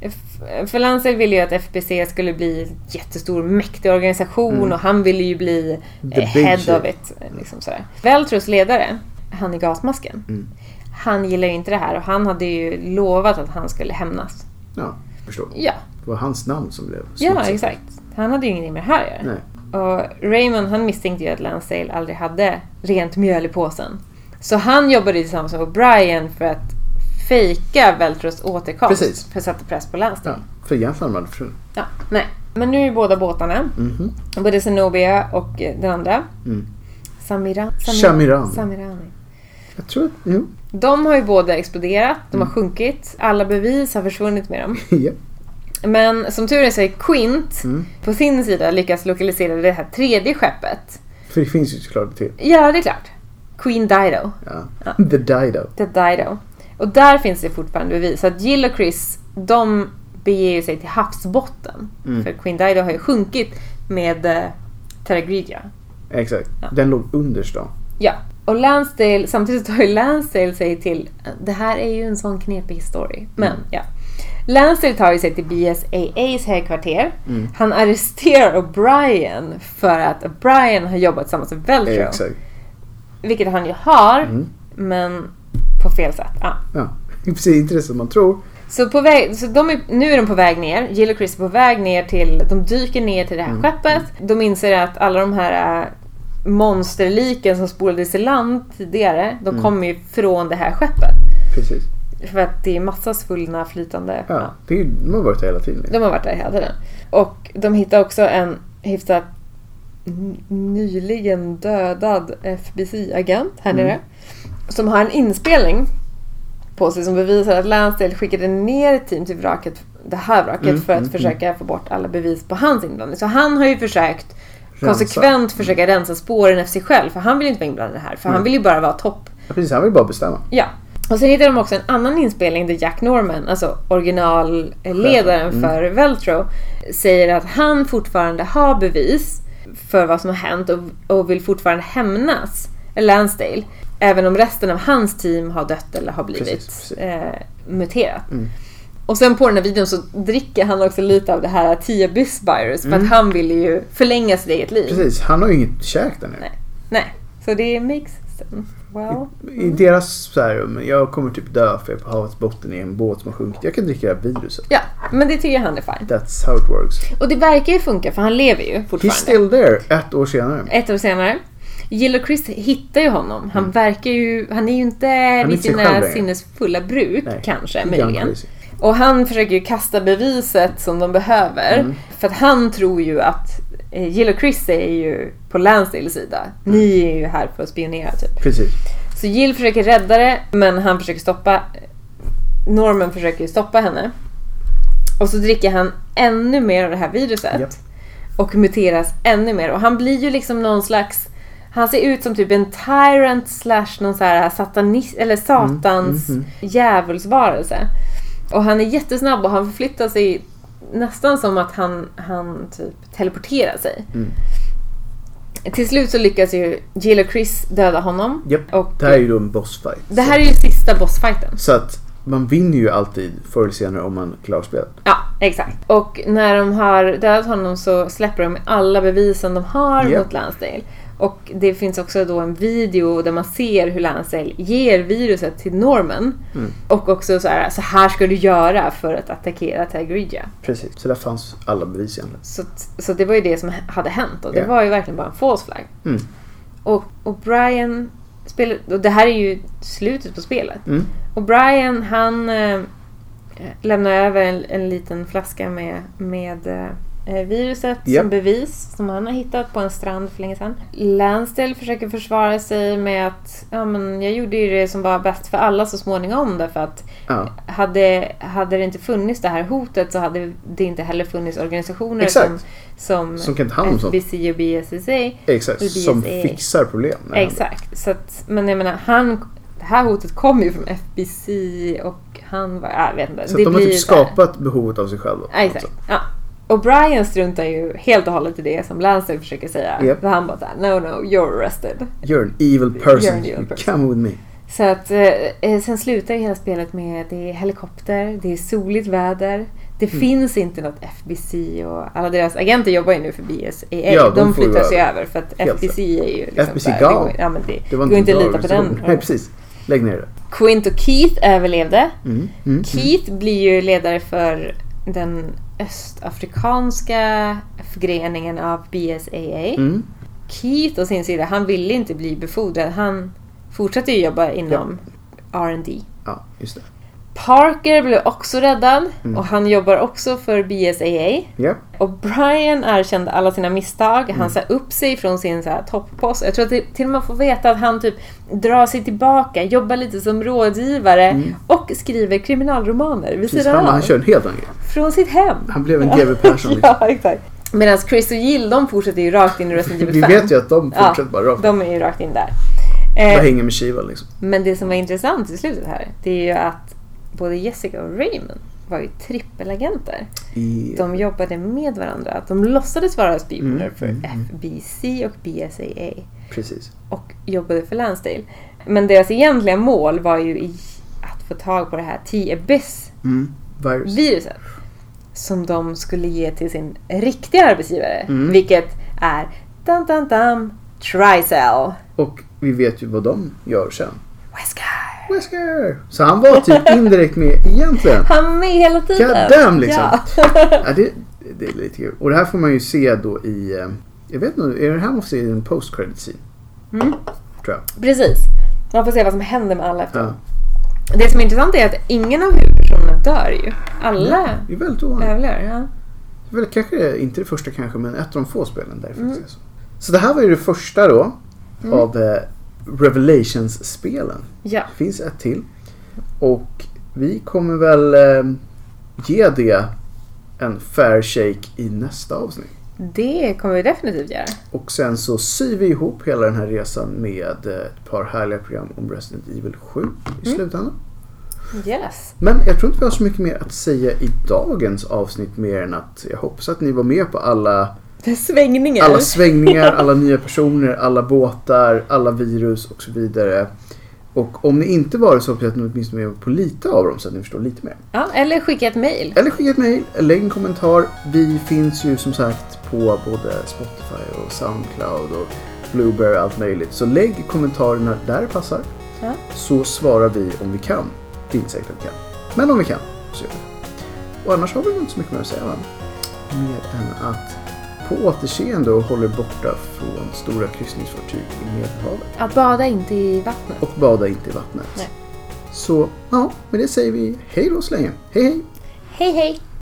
S2: F- För Lansel ville ju att FBC skulle bli en jättestor, mäktig organisation och han ville ju bli
S1: Mm. The
S2: eh,
S1: big
S2: head
S1: shit.
S2: of it. eh, Liksom sådär. Veltros ledare, han i gasmasken,
S1: Mm.
S2: han gillar ju inte det här och han hade ju lovat att han skulle hämnas.
S1: ja, förstår.
S2: Ja,
S1: Det var hans namn som blev
S2: ja
S1: smutsigt.
S2: exakt. Han hade ju ingenting med det här att göra.
S1: Nej.
S2: Och Raymond han misstänkte ju att Lansdale aldrig hade rent mjöl i påsen. Så han jobbade ju tillsammans med O'Brien för att fejka Veltros återkomst.
S1: Precis.
S2: För att sätta press på Lansdale.
S1: Ja, för Mhm. egentligen var det försvunnit.
S2: Ja. nej. Men nu är ju båda båtarna. Både Zenobia och eh, den andra.
S1: Mm.
S2: Samira. Samira-
S1: Shamiran.
S2: Samirani.
S1: Jag tror att, jo.
S2: De har ju båda exploderat. De har sjunkit. Alla bevis har försvunnit med dem.
S1: ja.
S2: Men som tur är så är Quint på sin sida lyckats lokalisera det här tredje skeppet.
S1: För det finns ju såklart ett till.
S2: Ja, det är klart. Queen Dido.
S1: Ja. The Dido.
S2: The Dido. Och där finns det fortfarande bevis. Så att Jill och Chris, de beger ju sig till havsbotten. För Queen Dido har ju sjunkit med eh, Terragridia.
S1: Exakt. Den låg underst då.
S2: Ja. Och Lansdale, samtidigt tar ju Lansdale sig till... Det här är ju en sån knepig story. Men ja. Lansdale tar ju sig till BSAAs högkvarter. Han arresterar O'Brien för att O'Brien har jobbat tillsammans med Velcro.
S1: Exakt.
S2: Vilket han ju har, men på fel sätt. Ja.
S1: Ja. Precis, inte det som man tror.
S2: Så, på väg, så de är, nu är de på väg ner. Jill och Chris är på väg ner till... De dyker ner till det här skeppet. De inser att alla de här äh, monsterliken som spolades i land tidigare, de kommer ju från det här skeppet.
S1: precis.
S2: För att det är massa svullna flytande.
S1: Ja, det är, ju- de har varit där hela tiden. liksom.
S2: De har varit där hela tiden. Och de hittade också en hyfsat n- nyligen dödad FBI-agent här
S1: Mm.
S2: nere. Som har en inspelning på sig som bevisar att Lansdale skickade ner ett team till vraket, det här vraket
S1: Mm,
S2: för att
S1: mm,
S2: försöka få bort alla bevis på hans inblandning. Så han har ju försökt
S1: Rensa.
S2: konsekvent försöka rensa spåren efter sig själv för han vill ju inte vara inblandad i det här. För han vill ju bara vara topp
S1: Ja, precis, han vill bara bestämma.
S2: Ja. Och sen hittade de också en annan inspelning där Jack Norman, alltså originalledaren
S1: Mm.
S2: för Veltro, säger att han fortfarande har bevis för vad som har hänt och, och vill fortfarande hämnas Lansdale. Även om resten av hans team har dött eller har blivit
S1: Precis, precis. Mm.
S2: Eh, muterat. Och sen på den här videon så dricker han också lite av det här Tia Byers för att han vill ju förlänga sitt eget liv.
S1: Mm. Precis, han har ju inget käk där nu.
S2: Nej. Nej. Så det makes sense. Well.
S1: I deras så här, men jag kommer typ dö för jag är på havets botten i en båt som har sjunkit. Jag kan dricka det här viruset.
S2: Ja, men det tycker han är fine.
S1: That's how it works.
S2: Och det verkar ju funka för han lever ju
S1: He's
S2: fortfarande.
S1: still there, ett år senare.
S2: Ett år senare. Jill och Chris hittar ju honom. Han verkar ju... Han är ju inte vid
S1: Mm. inte sig själv
S2: sina
S1: längre.
S2: sinnesfulla bruk
S1: Nej.
S2: kanske,
S1: Young
S2: möjligen.
S1: crazy.
S2: Och han försöker ju kasta beviset som de behöver.
S1: Mm.
S2: För att han tror ju att eh, Jill och Chris är ju på Lansdales sida. Ni
S1: Mm.
S2: är ju här för att spionera typ.
S1: Precis.
S2: Så Jill försöker rädda det, men han försöker stoppa... Norman försöker ju stoppa henne. Och så dricker han ännu mer av det här viruset.
S1: Japp.
S2: Och muteras ännu mer. Och han blir ju liksom någon slags... Han ser ut som typ en tyrant slash någon så här satanis, eller satans djävulsvarelse. Och han är jättesnabb och han förflyttar sig nästan som att han, han typ teleporterar sig. Till slut så lyckas ju Jill och Chris döda honom.
S1: Japp.
S2: Och
S1: Det här är ju då en bossfight.
S2: det här är ju sista bossfighten.
S1: Så att man vinner ju alltid förr eller senare om man klarar spelet.
S2: Ja, exakt. Och när de har dödat honom så släpper de alla bevisen de har
S1: Japp.
S2: mot Lansdale. Och det finns också då en video där man ser hur Lansdale ger viruset till Norman.
S1: Mm.
S2: Och också så här, så här ska du göra för att attackera Tigridia.
S1: Precis. Så där fanns alla bevis egentligen.
S2: Så, att- så det var ju det som hade hänt och det
S1: Ja.
S2: var ju verkligen bara en false flag.
S1: Mm.
S2: Och, och Brian, spel, och det här är ju slutet på spelet.
S1: Mm.
S2: Och Brian han eh, lämnar över en, en liten flaska med, med eh, viruset
S1: Japp.
S2: som bevis som han har hittat på en strand för länge sedan. Lansdale försöker försvara sig med att ja, men jag gjorde ju det som var bäst för alla så småningom därför att
S1: Ja.
S2: hade, hade det inte funnits det här hotet så hade det inte heller funnits organisationer
S1: Exakt.
S2: som, som,
S1: Som kan ta hand om sånt.
S2: FBC och BSSA.
S1: Exakt.
S2: Det blir
S1: Som
S2: ett-
S1: fixar problem. när det händer.
S2: Exakt. Så att, men jag menar, han, det här hotet kom ju från FBC och han var... Jag vet inte.
S1: Så att de har
S2: blir
S1: typ
S2: så här-
S1: skapat behovet av sig själva. Alltså,
S2: Ja, exakt. Ja. Och Brian struntar ju helt och hållet i det som Lancer försöker säga.
S1: Japp.
S2: För han bara såhär, no no, you're arrested.
S1: You're an evil person.
S2: You're an evil person.
S1: Come with me.
S2: Så att eh, eh, sen slutar ju hela spelet med det är helikopter, det är soligt väder. Det
S1: Mm.
S2: finns inte något FBC och alla deras agenter jobbar ju nu för BSAA.
S1: Ja, de
S2: de
S1: får ju
S2: flyttas ju
S1: vara-
S2: över för att
S1: Helt
S2: FBC är ju liksom
S1: FBC
S2: så här, det
S1: gal.
S2: går- Ja, men det,
S1: Det
S2: det
S1: var
S2: går inte
S1: en
S2: att
S1: bra
S2: lita på
S1: organisation.
S2: den.
S1: Nej, precis. Lägg ner det.
S2: Quint och Keith överlevde.
S1: Mm. Mm.
S2: Keith blir ju ledare för den östafrikanska förgreningen av BSAA.
S1: Mm.
S2: Keith å sin sida, han ville inte bli befordrad. Han fortsatte ju jobba inom R&D.
S1: Ja, just det.
S2: Parker blev också räddad
S1: Mm.
S2: och han jobbar också för BSAA.
S1: Ja.
S2: Och Brian erkände alla sina misstag.
S1: Mm.
S2: Han sa upp sig från sin så här topppost. Jag tror att det, till och med får veta att han typ drar sig tillbaka, jobbar lite som rådgivare och skriver kriminalromaner vid
S1: Mm. Precis.
S2: sidan
S1: Han,
S2: av.
S1: han kör en helt annan grej.
S2: Från sitt hem.
S1: Han blev en GW Persson. Liksom.
S2: ja, exakt. Medan Chris och Jill, de fortsätter ju rakt in i Resident Evil
S1: Vi
S2: 5.
S1: vet ju att de fortsätter bara rakt.
S2: De är ju rakt in där.
S1: Bara
S2: Eh,
S1: hänger med Shiva liksom.
S2: men det som var intressant i slutet här, det är ju att både Jessica och Raymond var ju trippelagenter.
S1: I...
S2: De jobbade med varandra. Att De låtsades vara spioner
S1: Mm,
S2: för
S1: mm,
S2: FBC och BSAA
S1: Precis.
S2: och jobbade för Lansdale. Men deras egentliga mål var ju i att få tag på det här T-Abyss-viruset
S1: Mm. Virus.
S2: som de skulle ge till sin riktiga arbetsgivare,
S1: Mm.
S2: vilket är dun, dun, dun, Tricell
S1: Och vi vet ju vad de gör sen.
S2: Wesker.
S1: Wesker! Så han var typ indirekt med egentligen.
S2: Han är med hela tiden.
S1: God damn, liksom.
S2: Ja.
S1: Ja, det, det är lite kul. Och det här får man ju se då i... eh, Jag vet inte, är det här måste i en post credit scene?
S2: Mm.
S1: Tror jag.
S2: Precis. Man får se vad som händer med alla efter.
S1: Ja.
S2: Det som är intressant är att ingen av huvudpersonerna dör ju. Alla
S1: Det är väldigt ovanligt.
S2: överlever. Ja.
S1: Det är väl kanske, det- inte det första kanske, men ett av de få spelen där det faktiskt är så. Så det här var ju det första då av eh, Revelations-spelen.
S2: ja.
S1: Det finns ett till. Och vi kommer väl eh, ge det en fair shake i nästa avsnitt.
S2: Det kommer vi definitivt göra.
S1: Och sen så syr vi ihop hela den här resan med eh, ett par härliga program om Resident Evil 7 i slutändan.
S2: Yes.
S1: Men jag tror inte vi har så mycket mer att säga i dagens avsnitt mer än att jag hoppas att ni var med på alla,
S2: Svängningar.
S1: alla svängningar, alla nya personer, alla båtar, alla virus och så vidare. Och om ni inte var det så hoppas jag att ni åtminstone är med på lite av dem så att ni förstår lite mer.
S2: Ja, eller skicka ett mejl.
S1: Eller skicka ett mejl, lägg en kommentar. Vi finns ju som sagt på både Spotify och Soundcloud och Blueberry och allt möjligt. Så lägg kommentarerna där det passar.
S2: Ja.
S1: Så svarar vi om vi kan. Det är inte säkert att vi kan. Men om vi kan så gör vi det. Och annars har vi väl inte så mycket mer att säga va? Mer än att på återseende och håll er borta från stora kryssningsfartyg i Medelhavet.
S2: Att bada inte i vattnet.
S1: Och bada inte i vattnet.
S2: Nej.
S1: Så ja, med det säger vi hej då så länge. Hej hej!
S2: Hej hej!